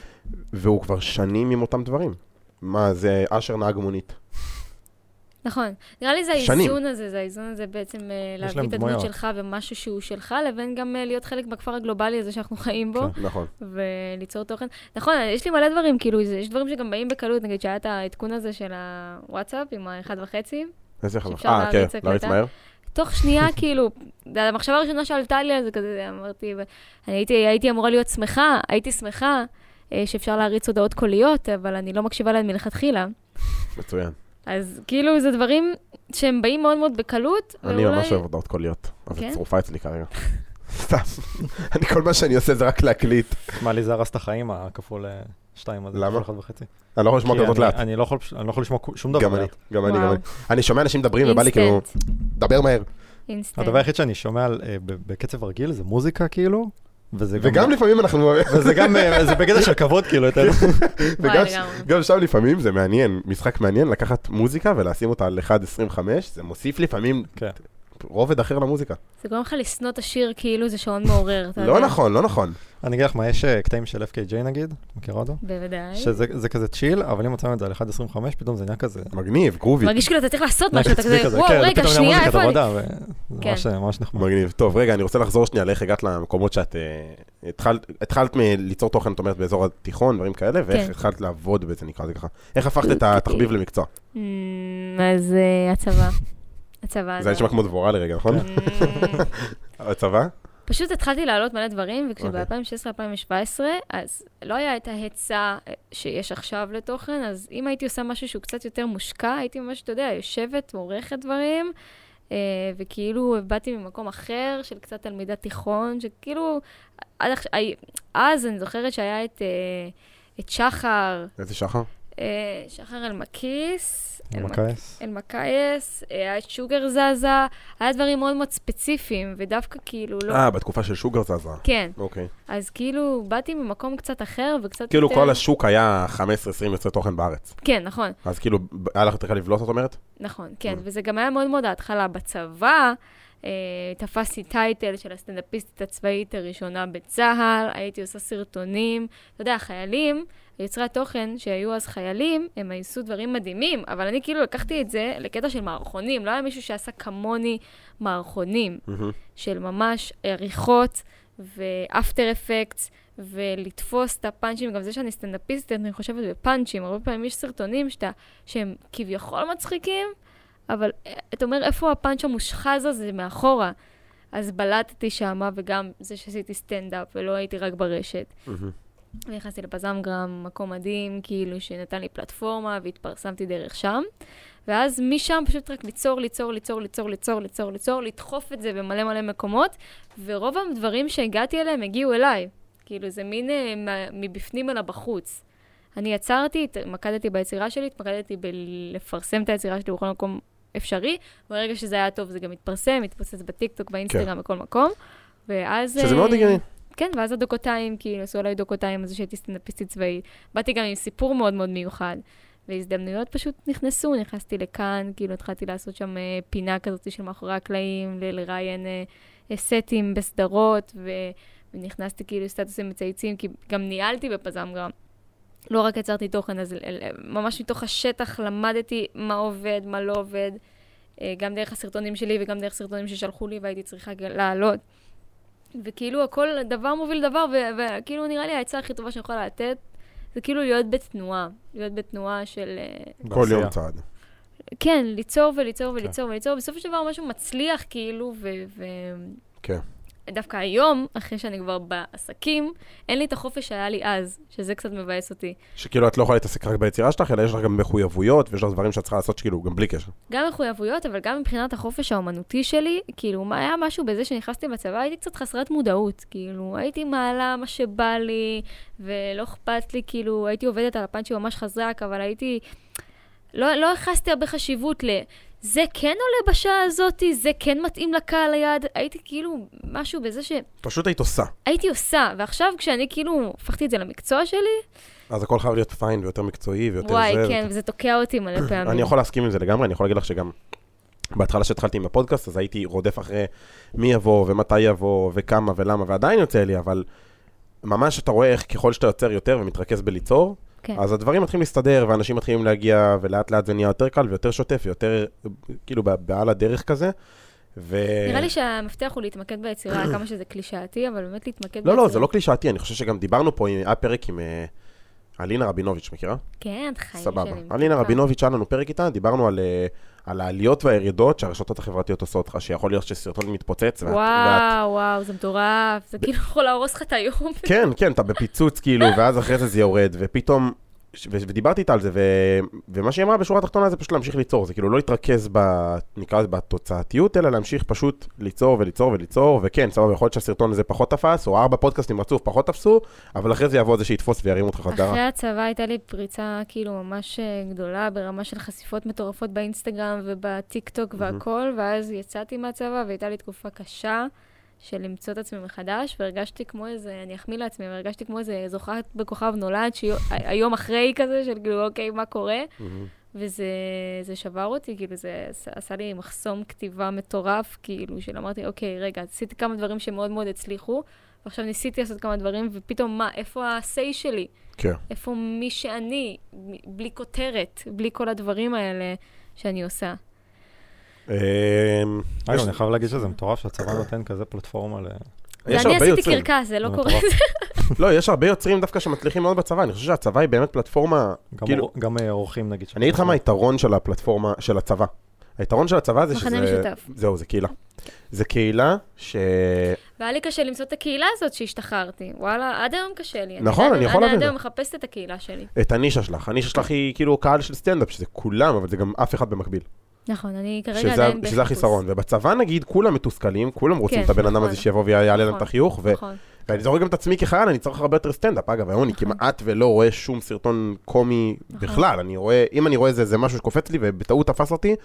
Speaker 2: והוא כבר שנים עם אותם דברים. מה, זה אשר נהג מונית.
Speaker 1: נכון. נראה לי זה
Speaker 2: שנים.
Speaker 1: האיזון הזה, זה האיזון הזה בעצם אה, להביא
Speaker 3: להם
Speaker 1: את הדמות
Speaker 3: דמויות.
Speaker 1: שלך ומשהו שהוא שלך, לבין גם אה, להיות חלק בכפר הגלובלי הזה שאנחנו חיים בו,
Speaker 2: נכון.
Speaker 1: וליצור תוכן. נכון, יש לי מלא דברים, כאילו, זה- יש דברים שגם באים בקלות, נגיד שהיה את העדכון הזה של הוואטסאפ עם האחד וחצי,
Speaker 2: איזה חבל.
Speaker 1: שאפשר
Speaker 2: אה, כן,
Speaker 1: להריץ הקלטה?
Speaker 2: להריץ מהר.
Speaker 1: תוך
Speaker 2: *laughs*
Speaker 1: שנייה, כאילו, זה המחשבה הראשונה שעלתה לי על זה כזה, אמרתי, ו- אני הייתי, הייתי אמורה להיות שמחה, הייתי שמחה אה, שאפשר להריץ הודעות קוליות, אבל אני לא מקשיבה להן מלכתחילה.
Speaker 2: מצוין.
Speaker 1: אז כאילו, זה דברים שהם באים מאוד מאוד בקלות,
Speaker 2: אני
Speaker 1: ואולי-
Speaker 2: ממש אוהב הודעות קוליות. אז זה
Speaker 1: כן?
Speaker 2: צרופה
Speaker 1: *laughs*
Speaker 2: אצלי כרגע. סתם. אני, כל מה שאני עושה זה רק להקליט.
Speaker 3: מה לי זה הרס את החיים, הכפול אה, שתיים הזה,
Speaker 2: למה?
Speaker 3: כפול אחד וחצי.
Speaker 2: אני לא יכול לשמוע
Speaker 3: כי
Speaker 2: כזאת
Speaker 3: אני-
Speaker 2: לאט.
Speaker 3: אני לא יכול פש- אני לא יכול לשמוע כ- שום דבר
Speaker 2: גם אני,
Speaker 3: לאט.
Speaker 2: גם אני, גם
Speaker 1: וואו.
Speaker 2: אני. אני שומע אנשים מדברים ובא לי כאילו,
Speaker 1: אינסטנט,
Speaker 2: דבר מהר.
Speaker 1: אינסטנט.
Speaker 3: הדבר היחיד שאני שומע על, אה, ב- בקצב רגיל זה מוזיקה כאילו, וזה גם...
Speaker 1: לא-
Speaker 2: וגם לפעמים אנחנו...
Speaker 3: וזה גם, אה, זה בקטע
Speaker 2: *laughs*
Speaker 3: של כבוד כאילו, אתה יודע.
Speaker 1: וואי,
Speaker 2: וגם-
Speaker 1: לגמרי.
Speaker 2: גם שם לפעמים זה מעניין, משחק מעניין לקחת מוזיקה ולשים אותה על 1.25, זה מוסיף לפעמים
Speaker 3: כן.
Speaker 2: רובד אחר למוזיקה.
Speaker 1: זה גורם לך לשנוא את השיר כאילו זה שעון מעורר, אתה יודע.
Speaker 2: לא נכון, לא נכון.
Speaker 3: אני אגיד לך מה, יש אה, קטעים של FKJ נגיד, מכירה אותו?
Speaker 1: בוודאי.
Speaker 3: שזה זה כזה צ'יל, אבל אם מצאנו את זה על 1.25, פתאום זה נהיה כזה...
Speaker 2: מגניב, גרובי.
Speaker 1: מרגיש כאילו אתה צריך לעשות משהו, אתה
Speaker 3: נקצבי
Speaker 1: כזה, וואו,
Speaker 3: כן,
Speaker 1: רגע,
Speaker 3: פתאום נהיה
Speaker 1: שנייה,
Speaker 3: מוזיקת
Speaker 1: איפה אני?
Speaker 3: עבודה, ו- זה
Speaker 1: כן.
Speaker 3: ממש- ממש נחמד.
Speaker 2: מגניב. טוב, רגע, אני רוצה לחזור שנייה לאיך הגעת למקומות שאת... אה, התחלת- התחלת מליצור תוכן, את אומרת, באזור התיכון, דברים כאלה, ואיך
Speaker 1: כן.
Speaker 2: התחלת לעבוד בזה, נקרא לזה ככה. איך הפכת את
Speaker 1: *laughs*
Speaker 2: התחביב למקצוע?
Speaker 1: אה, אמ, אז אה, הצבא. הצבא.
Speaker 2: זה היה נשמע כמו דבורה לרגע, נכון?
Speaker 1: אמ,
Speaker 2: הצבא?
Speaker 1: פשוט התחלתי להעלות מלא דברים,
Speaker 2: אוקיי.
Speaker 1: וכשב-2016-2017, אז לא היה את ההיצע אה, שיש עכשיו לתוכן, אז אם הייתי עושה משהו שהוא קצת יותר מושקע, הייתי ממש, אתה יודע, יושבת, עורכת דברים, אה, וכאילו באתי ממקום אחר של קצת תלמידת תיכון, שכאילו, עד עכשיו, אז אני זוכרת שהיה את, אה, את שחר,
Speaker 2: איזה שחר?
Speaker 1: אה, אה, שחר אלמקיס,
Speaker 3: מכעס.
Speaker 1: אלמקייס, אה, היה את שוגר זזה, היה דברים מאוד מאוד ספציפיים, ודווקא כאילו לא...
Speaker 2: אה, בתקופה של שוגר זזה.
Speaker 1: כן,
Speaker 2: אוקיי.
Speaker 1: אז כאילו באתי ממקום קצת אחר וקצת
Speaker 2: כאילו
Speaker 1: יותר...
Speaker 2: כל השוק היה 15-20 יוצרי תוכן בארץ.
Speaker 1: כן, נכון,
Speaker 2: אז כאילו, היה לך יותר קל לבלוט, את אומרת?
Speaker 1: נכון, כן,
Speaker 2: Mm.
Speaker 1: וזה גם היה מאוד מאוד ההתחלה. בצבא אה, תפסתי טייטל של הסטנדאפיסטית הצבאית הראשונה בצה"ל, הייתי עושה סרטונים. אתה יודע, החיילים, יוצרי התוכן שהיו אז חיילים, הם עשו דברים מדהימים, אבל אני כאילו לקחתי את זה לקטע של מערכונים, לא היה מישהו שעשה כמוני מערכונים. של ממש עריכות ואפטר אפקטס, ולתפוס את הפאנצ'ים. גם זה שאני סטנדאפיסטית, אני חושבת בפאנצ'ים. הרבה פעמים יש סרטונים שאתה, שהם כביכול מצחיקים, אבל אה, אתה אומר, איפה הפאנץ' המושחז הזה מאחורה? אז בלטתי שמה, וגם זה שעשיתי סטנדאפ ולא הייתי רק ברשת. ונכנסתי לפזמגרם, מקום מדהים, כאילו, שנתן לי פלטפורמה, והתפרסמתי דרך שם. ואז משם פשוט רק ליצור, ליצור, ליצור, ליצור, ליצור, ליצור, ליצור, לדחוף את זה במלא מלא מקומות, ורוב הדברים שהגעתי אליהם הגיעו אליי. כאילו, זה מין אה, מה- מבפנים אלא בחוץ. אני יצרתי, התמקדתי ביצירה שלי, התמקדתי בלפרסם את היצירה שלי בכל מקום אפשרי, וברגע שזה היה טוב זה גם התפרסם, התפוצץ בטיקטוק, באינסטגרם, בכל מקום. ואז...
Speaker 2: כן. שזה מאוד
Speaker 1: אה,
Speaker 2: הגיוני.
Speaker 1: כן, ואז הדוקותיים, כאילו, עשו עליי דוקותיים, אז שהייתי סטנדאפיסטית צבאית. באתי גם עם סיפור מאוד מאוד מיוחד. והזדמנויות פשוט נכנסו, נכנסתי לכאן, כאילו התחלתי לעשות שם אה, פינה כזאת של מאחורי הקלעים, ל- לראיין אה, אה, סטים בסדרות, ו... ונכנסתי כאילו סטטוסים מצייצים, כי גם ניהלתי בפזמגרם. לא רק יצרתי תוכן, אז אל- אל- ממש מתוך השטח למדתי מה עובד, מה לא עובד, אה, גם דרך הסרטונים שלי וגם דרך סרטונים ששלחו לי והייתי צריכה גם לעלות. וכאילו הכל, דבר מוביל דבר, ו- וכאילו נראה לי העצה הכי טובה שאני יכולה לתת, זה כאילו להיות בתנועה. להיות בתנועה של... אה,
Speaker 2: כל יום
Speaker 3: בעשייה.
Speaker 2: צעד.
Speaker 1: כן, ליצור וליצור וליצור וליצור, בסופו של דבר משהו מצליח כאילו, ו... ו...
Speaker 2: כן.
Speaker 1: דווקא היום, אחרי שאני כבר בעסקים, אין לי את החופש שהיה לי אז, שזה קצת מבאס אותי.
Speaker 2: שכאילו את לא יכולה להתעסק רק ביצירה שלך, אלא יש לך גם מחויבויות, ויש לך דברים שאת צריכה לעשות שכאילו גם בלי קשר.
Speaker 1: גם מחויבויות, אבל גם מבחינת החופש האומנותי שלי, כאילו, מה היה משהו בזה שנכנסתי לצבא, הייתי קצת חסרת מודעות. כאילו, הייתי מעלה מה שבא לי, ולא אכפת לי, כאילו, הייתי עובדת על הפאנצ'י ממש חזק, אבל הייתי... לא, לא ייחסתי הרבה חשיבות ל... זה כן עולה בשעה הזאתי, זה כן מתאים לקהל היעד. הייתי כאילו, משהו בזה שהייתי
Speaker 2: פשוט היית עושה.
Speaker 1: עושה, ועכשיו כשאני כאילו הפכתי את זה למקצוע שלי,
Speaker 2: אז הכל חייב להיות פיין ויותר מקצועי ויותר
Speaker 1: וואי,
Speaker 2: זה.
Speaker 1: כן, וזה תוקע אותי
Speaker 2: *clears throat*
Speaker 1: מלא פעמים.
Speaker 2: אני יכול להסכים עם זה לגמרי, אני יכול להגיד לך שגם בהתחלה שהתחלתי עם הפודקאסט, אז הייתי רודף אחרי מי יבוא ומתי יבוא וכמה ולמה, ועדיין יוצא לי, אבל ממש אתה רואה איך ככל שאתה יוצר יותר ומתרכז בליצור,
Speaker 1: כן.
Speaker 2: אז הדברים מתחילים להסתדר, ואנשים מתחילים להגיע, ולאט לאט זה נהיה יותר קל ויותר שוטף, ויותר כאילו ב- בעל הדרך כזה. ו...
Speaker 1: נראה לי שהמפתח הוא להתמקד
Speaker 2: *coughs*
Speaker 1: ביצירה, כמה שזה קלישאתי, אבל באמת להתמקד ביצירה.
Speaker 2: לא, לא, זה לא קלישאתי, אני חושב שגם דיברנו פה, עם- היה פרק עם אה, אלינה רבינוביץ', מכירה?
Speaker 1: כן, חיים שלי.
Speaker 2: סבבה.
Speaker 1: מתוקה.
Speaker 2: אלינה רבינוביץ', היה לנו פרק איתה, דיברנו על, אה, על העליות והירידות שהרשתות החברתיות עושות לך, שיכול להיות שסרטון מתפוצץ, ואת- ואת...
Speaker 1: וואו, וואו, זה מטורף. זה כאילו יכול להרוס לך את
Speaker 2: *laughs*
Speaker 1: היום.
Speaker 2: כן, כן, אתה בפיצוץ כאילו, ואז אחרי זה זה יורד, ופתאום... ש- ו- ודיברתי איתה על זה, ו... ומה שהיא אמרה בשורה התחתונה זה פשוט להמשיך ליצור, זה כאילו לא להתרכז ב... נקרא לזה בתוצאתיות, אלא להמשיך פשוט ליצור וליצור וליצור, וכן, סבבה, יכול להיות שהסרטון הזה פחות תפס, או ארבע פודקאסטים רצוף פחות תפסו, אבל אחרי זה יבוא זה שיתפוס וירים אותך חזרה.
Speaker 1: אחרי הצבא הייתה לי פריצה כאילו ממש אה, גדולה, ברמה של חשיפות מטורפות באינסטגרם ובטיקטוק והכל, ואז יצאתי מהצבא והייתה לי תקופה קשה של למצוא את עצמי מחדש, והרגשתי כמו איזה, אני אחמיא לעצמי, אבל הרגשתי כמו איזה זוכרת בכוכב נולד, שהיום אחרי כזה, של כאילו, אוקיי, מה קורה?
Speaker 2: מהמם.
Speaker 1: וזה זה שבר אותי, כאילו זה עשה- עשה לי מחסום כתיבה מטורף, כאילו, של אמרתי, אוקיי, רגע, עשיתי כמה דברים שמאוד מאוד הצליחו, ועכשיו ניסיתי לעשות כמה דברים, ופתאום מה, איפה ה-say שלי?
Speaker 2: כן.
Speaker 1: איפה מי שאני? מ- בלי כותרת, בלי כל הדברים האלה שאני עושה.
Speaker 2: אמ,
Speaker 3: אגב,
Speaker 2: יש-
Speaker 3: אה, לא, אני חייב להגיד שזה מטורף שהצבא נותן כזה פלטפורמה ל...
Speaker 2: יש
Speaker 1: ואני
Speaker 2: הרבה
Speaker 1: עשיתי
Speaker 2: יוצרים.
Speaker 1: קרקס, זה לא
Speaker 3: זה
Speaker 1: קורה.
Speaker 3: מטורף.
Speaker 2: לא, יש הרבה יוצרים דווקא שמצליחים מאוד בצבא, אני חושב שהצבא היא באמת פלטפורמה,
Speaker 3: גם
Speaker 2: כאילו-
Speaker 3: אור- גם אה, אורחים נגיד.
Speaker 2: אני אגיד לך מה היתרון של הפלטפורמה, של הצבא. היתרון של הצבא זה שזה...
Speaker 1: מחנה משותף. כן.
Speaker 2: זהו, זה קהילה. זה קהילה ש...
Speaker 1: והיה לי קשה למצוא את הקהילה הזאת שהשתחררתי. וואלה, עד היום קשה לי.
Speaker 2: נכון,
Speaker 1: עד-
Speaker 2: אני יכול להבין
Speaker 1: עד
Speaker 2: את
Speaker 1: היום
Speaker 2: זה.
Speaker 1: מחפשת את הקהילה שלי.
Speaker 2: את הנישה שלך. הנישה שלך היא כאילו קהל של סטנדאפ, שזה כולם, אבל זה גם אף אחד במקביל.
Speaker 1: נכון, אני כרגע
Speaker 2: שזה-
Speaker 1: עדיין בחיפוש.
Speaker 2: שזה החיסרון. ובצבא נגיד, כולם מתוסכלים, כולם רוצים
Speaker 1: כן,
Speaker 2: את הבן אדם
Speaker 1: נכון.
Speaker 2: הזה שיבוא ויעלה להם
Speaker 1: נכון,
Speaker 2: את החיוך, ו-
Speaker 1: נכון.
Speaker 2: ואני זורק גם את עצמי כחייל, אני צריך הרבה יותר סטנדאפ. אגב, היום אני
Speaker 1: נכון.
Speaker 2: כמעט ולא רואה שום סרטון קומי
Speaker 1: נכון.
Speaker 2: בכלל. אני רואה, אם אני רואה איזה זה משהו שקופץ לי ובטעות תפס אותי,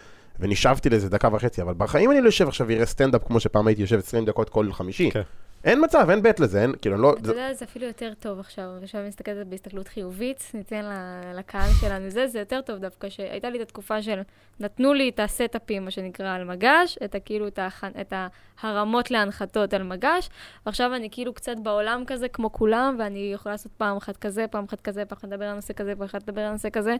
Speaker 2: ונשאבתי לזה דקה וחצי, אבל בחיים אני לא יושב עכשיו ואראה סטנדאפ כמו שפעם הייתי יושב 20 דקות כל חמישי.
Speaker 3: כן.
Speaker 2: אין מצב, אין בית לזה, אין, כאילו, אני לא...
Speaker 1: אתה
Speaker 2: זה-
Speaker 1: יודע, זה אפילו יותר טוב עכשיו. עכשיו אני מסתכלת בהסתכלות חיובית, ניתן ל- לקהל שלנו זה, זה יותר טוב דווקא, שהייתה לי את התקופה של נתנו לי את הסטאפים, מה שנקרא, על מגש, את הכאילו, את, ההכ... את ההרמות להנחתות על מגש, ועכשיו אני כאילו קצת בעולם כזה, כמו כולם, ואני יכולה לעשות פעם אחת כזה, פעם אחת כזה, פעם אחת לדבר על נושא כזה, פעם אחת לדבר על נושא כזה,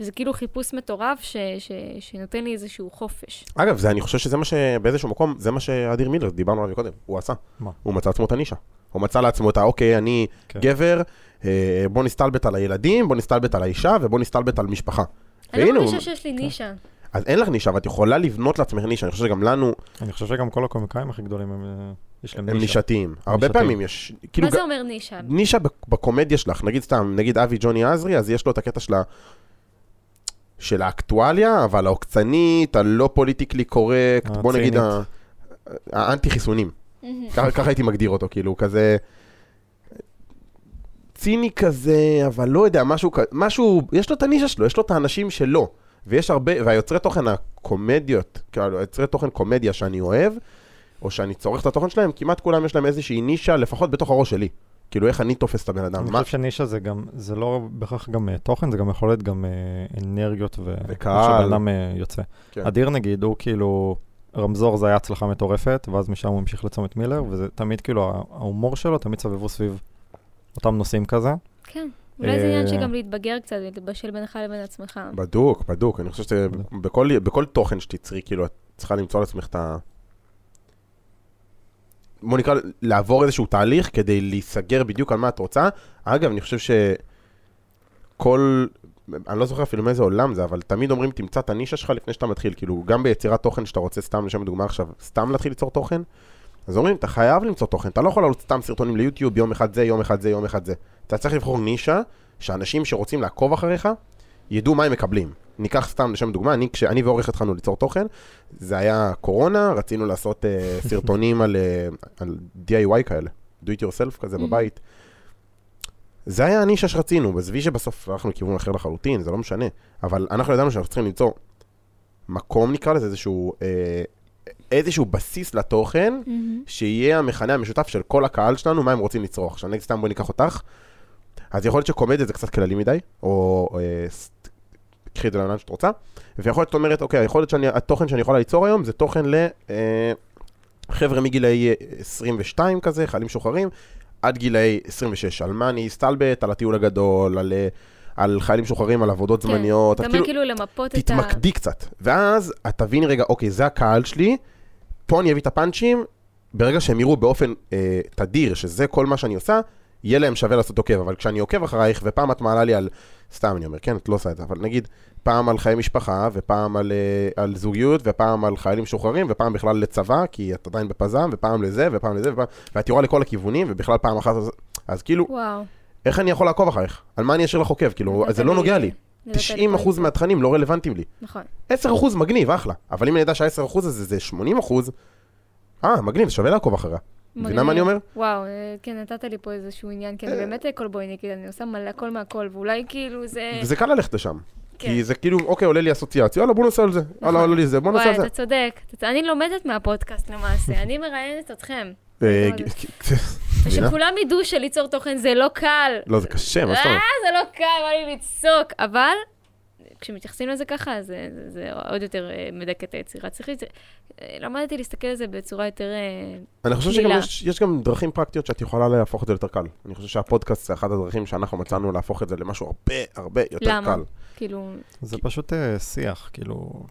Speaker 1: וזה כאילו חיפוש מטורף ש... ש... שנותן לי איזשהו חופש.
Speaker 2: אגב, זה, אני חושב שזה מה ש... באיזשהו מקום, זה מה שאדיר מילר, דיברנו עליו קודם, הוא עשה.
Speaker 3: מה?
Speaker 2: הוא מצא לעצמו את הנישה. הוא מצא לעצמו את ה, אוקיי, אני
Speaker 3: כן.
Speaker 2: גבר, אה, בוא נסתלבט על הילדים, בוא נסתלבט על האישה ובוא נסתלבט על משפחה.
Speaker 1: אני לא
Speaker 2: והנה,
Speaker 1: מרגישה
Speaker 2: הוא- כן.
Speaker 1: שיש לי נישה.
Speaker 2: אז אין לך נישה, אבל את יכולה לבנות לעצמך נישה, אני חושב שגם לנו,
Speaker 3: אני חושב שגם כל הקומיקאים הכי גדולים הם... אה, יש להם
Speaker 2: הם
Speaker 3: נישה.
Speaker 2: נישתיים. הרבה
Speaker 3: נישתיים.
Speaker 2: פעמים יש, כאילו,
Speaker 1: מה זה אומר נישה?
Speaker 2: גם- נישה בק- בקומדיה שלך, נגיד סתם, נגיד אבי ג'וני עזרי, אז יש לו את הקטע של ה... של האקטואליה, אבל העוקצנית, הלא פוליטיקלי קורקט, בוא נגיד ה- האנטי חיסונים.
Speaker 1: מהמם.
Speaker 2: ככה ככה הייתי מגדיר אותו, כאילו, כזה... ציני כזה, אבל לא יודע, משהו, כ- משהו, יש לו את הנישה שלו, יש לו את האנשים שלו. ויש הרבה, והיוצרי תוכן הקומדיות, כאילו, היוצרי תוכן קומדיה שאני אוהב, או שאני צורך את התוכן שלהם, כמעט כולם יש להם איזושהי נישה, לפחות בתוך הראש שלי. כאילו, איך אני תופס את הבן אדם,
Speaker 3: אני
Speaker 2: מה...
Speaker 3: חושב שנישה זה גם, זה לא בהכרח גם אה, תוכן, זה גם יכול להיות גם אה, אנרגיות ו...
Speaker 2: וקהל.
Speaker 3: שבן אדם אה, יוצא.
Speaker 2: כן.
Speaker 3: אדיר נגיד, הוא כאילו, רמזור זה היה הצלחה מטורפת, ואז משם הוא המשיך לצומת מילר, וזה תמיד כאילו, ה- ההומור שלו תמיד סבבו סביב אותם נושאים כזה.
Speaker 1: כן. אולי זה עניין
Speaker 3: אה,
Speaker 1: שגם להתבגר קצת, להתבשל בינך לבין עצמך.
Speaker 2: בדוק, בדוק, אני חושב שבכל בכל תוכן שתצרי, כאילו, את צריכה למצוא לעצמך את ה... בוא נקרא, לעבור איזשהו תהליך כדי להיסגר בדיוק על מה את רוצה. אגב, אני חושב שכל... אני לא זוכר אפילו מאיזה עולם זה, אבל תמיד אומרים, תמצא את הנישה שלך לפני שאתה מתחיל. כאילו, גם ביצירת תוכן שאתה רוצה, סתם לשם דוגמה עכשיו, סתם להתחיל ליצור תוכן, אז אומרים, אתה חייב למצוא תוכן, אתה לא יכול לעלות סתם סרטונים ליוטיוב, יום אחד זה, יום אחד זה, יום אחד זה. אתה צריך לבחור נישה, שאנשים שרוצים לעקוב אחריך, ידעו מה הם מקבלים. ניקח סתם לשם דוגמה, אני, כשאני ועורך התחלנו ליצור תוכן, זה היה קורונה, רצינו לעשות uh, סרטונים על, uh, על DIY כאלה, do it yourself כזה
Speaker 1: Mhm.
Speaker 2: בבית. זה היה הנישה שרצינו, עזבי שבסוף הלכנו לכיוון אחר לחלוטין, זה לא משנה, אבל אנחנו ידענו שאנחנו צריכים למצוא מקום נקרא לזה, איזשהו, אה, איזשהו בסיס לתוכן,
Speaker 1: מהמם.
Speaker 2: Mm-hmm. שיהיה המכנה המשותף של כל הקהל שלנו, מה הם רוצים לצרוך. עכשיו נגיד סתם בואי ניקח אותך, אז יכול להיות שקומדיה זה קצת כללי מדי, או אה, ס- קחי את זה לעניין שאת רוצה, ויכול להיות שאת אומרת, אוקיי, יכול להיות שהתוכן שאני יכולה ליצור היום זה תוכן לחבר'ה מגילאי 22 כזה, חיילים משוחררים, עד גילאי 26, על מה אני אסתלבט, על הטיול הגדול, על... אה, על חיילים משוחררים, על עבודות
Speaker 1: כן.
Speaker 2: זמניות.
Speaker 1: אתה
Speaker 2: את
Speaker 1: אומר כאילו למפות את ה...
Speaker 2: תתמקדי קצת, ואז את תביני רגע, אוקיי, זה הקהל שלי, פה אני אביא את הפאנצ'ים, ברגע שהם יראו באופן אה, תדיר שזה כל מה שאני עושה, יהיה להם שווה לעשות עוקב, אבל כשאני עוקב אחרייך, ופעם את מעלה לי על, סתם אני אומר, כן, את לא עושה את זה, אבל נגיד, פעם על חיי משפחה, ופעם על, אה, על זוגיות, ופעם על חיילים משוחררים, ופעם בכלל לצבא, כי את עדיין בפזם, ופעם לזה, ופעם לזה, ופעם... ואת יורה לכל הכיוונים, ובכלל פעם אחת, אז- אז כאילו,
Speaker 1: וואו.
Speaker 2: איך אני יכול לעקוב אחרייך? על מה אני אשאיר לך עוקב? כאילו,
Speaker 1: נתת
Speaker 2: זה לא נוגע לי.
Speaker 1: נתת
Speaker 2: 90% מהתכנים לא רלוונטיים לי.
Speaker 1: נכון.
Speaker 2: 10% מגניב, אחלה. אבל אם אני יודע שה-10% הזה זה 80%, אה, מגניב, שווה לעקוב אחריה. מבינה מה אני אומר? אה.
Speaker 1: וואו, אה, כן, נתת לי פה איזשהו עניין, כי אני באמת כלבויניקית, אני עושה מלא הכל מהכל, ואולי כאילו זה...
Speaker 2: וזה קל ללכת לשם.
Speaker 1: כן. נכון.
Speaker 2: כי זה כאילו, אוקיי, עולה לי אסוציאציה, יאללה, בוא נעשה על זה. יאללה, עולה לי זה, בוא נעשה על
Speaker 1: וואי,
Speaker 2: זה.
Speaker 1: אתה צודק. אתה צ- אני לומדת מהפודקאסט למעשה, אני מראיינת אתכם.
Speaker 2: אה,
Speaker 1: וואלה.
Speaker 2: *laughs* מבינה?
Speaker 1: ושכולם ידעו שליצור תוכן זה לא קל.
Speaker 2: לא, זה קשה, מה זאת
Speaker 1: אה,
Speaker 2: אומרת?
Speaker 1: זה לא קל, בא לי לצעוק, אבל כשמתייחסים לזה ככה, זה, זה, זה עוד יותר אה, מדכא את היצירה. צריך לזה... למדתי להסתכל על זה בצורה יותר... אה,
Speaker 2: אני חושב שגם
Speaker 1: מילה.
Speaker 2: יש- יש גם דרכים פרקטיות שאת יכולה להפוך את זה יותר קל. אני חושב שהפודקאסט זה אחת הדרכים שאנחנו מצאנו להפוך את זה למשהו הרבה הרבה יותר
Speaker 1: למה?
Speaker 2: קל.
Speaker 1: כאילו,
Speaker 3: זה פשוט אה, שיח, כאילו,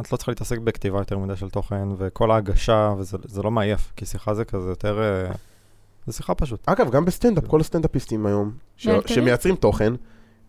Speaker 3: את לא צריכה להתעסק בכתיבה יותר מדי של תוכן, וכל ההגשה, וזה זה לא מעייף, כי שיחה זה כזה יותר... אה, זה שיחה פשוט.
Speaker 2: אגב, גם בסטנדאפ, כל הסטנדאפיסטים היום, ש-
Speaker 1: מאלתרים?
Speaker 2: שמייצרים תוכן,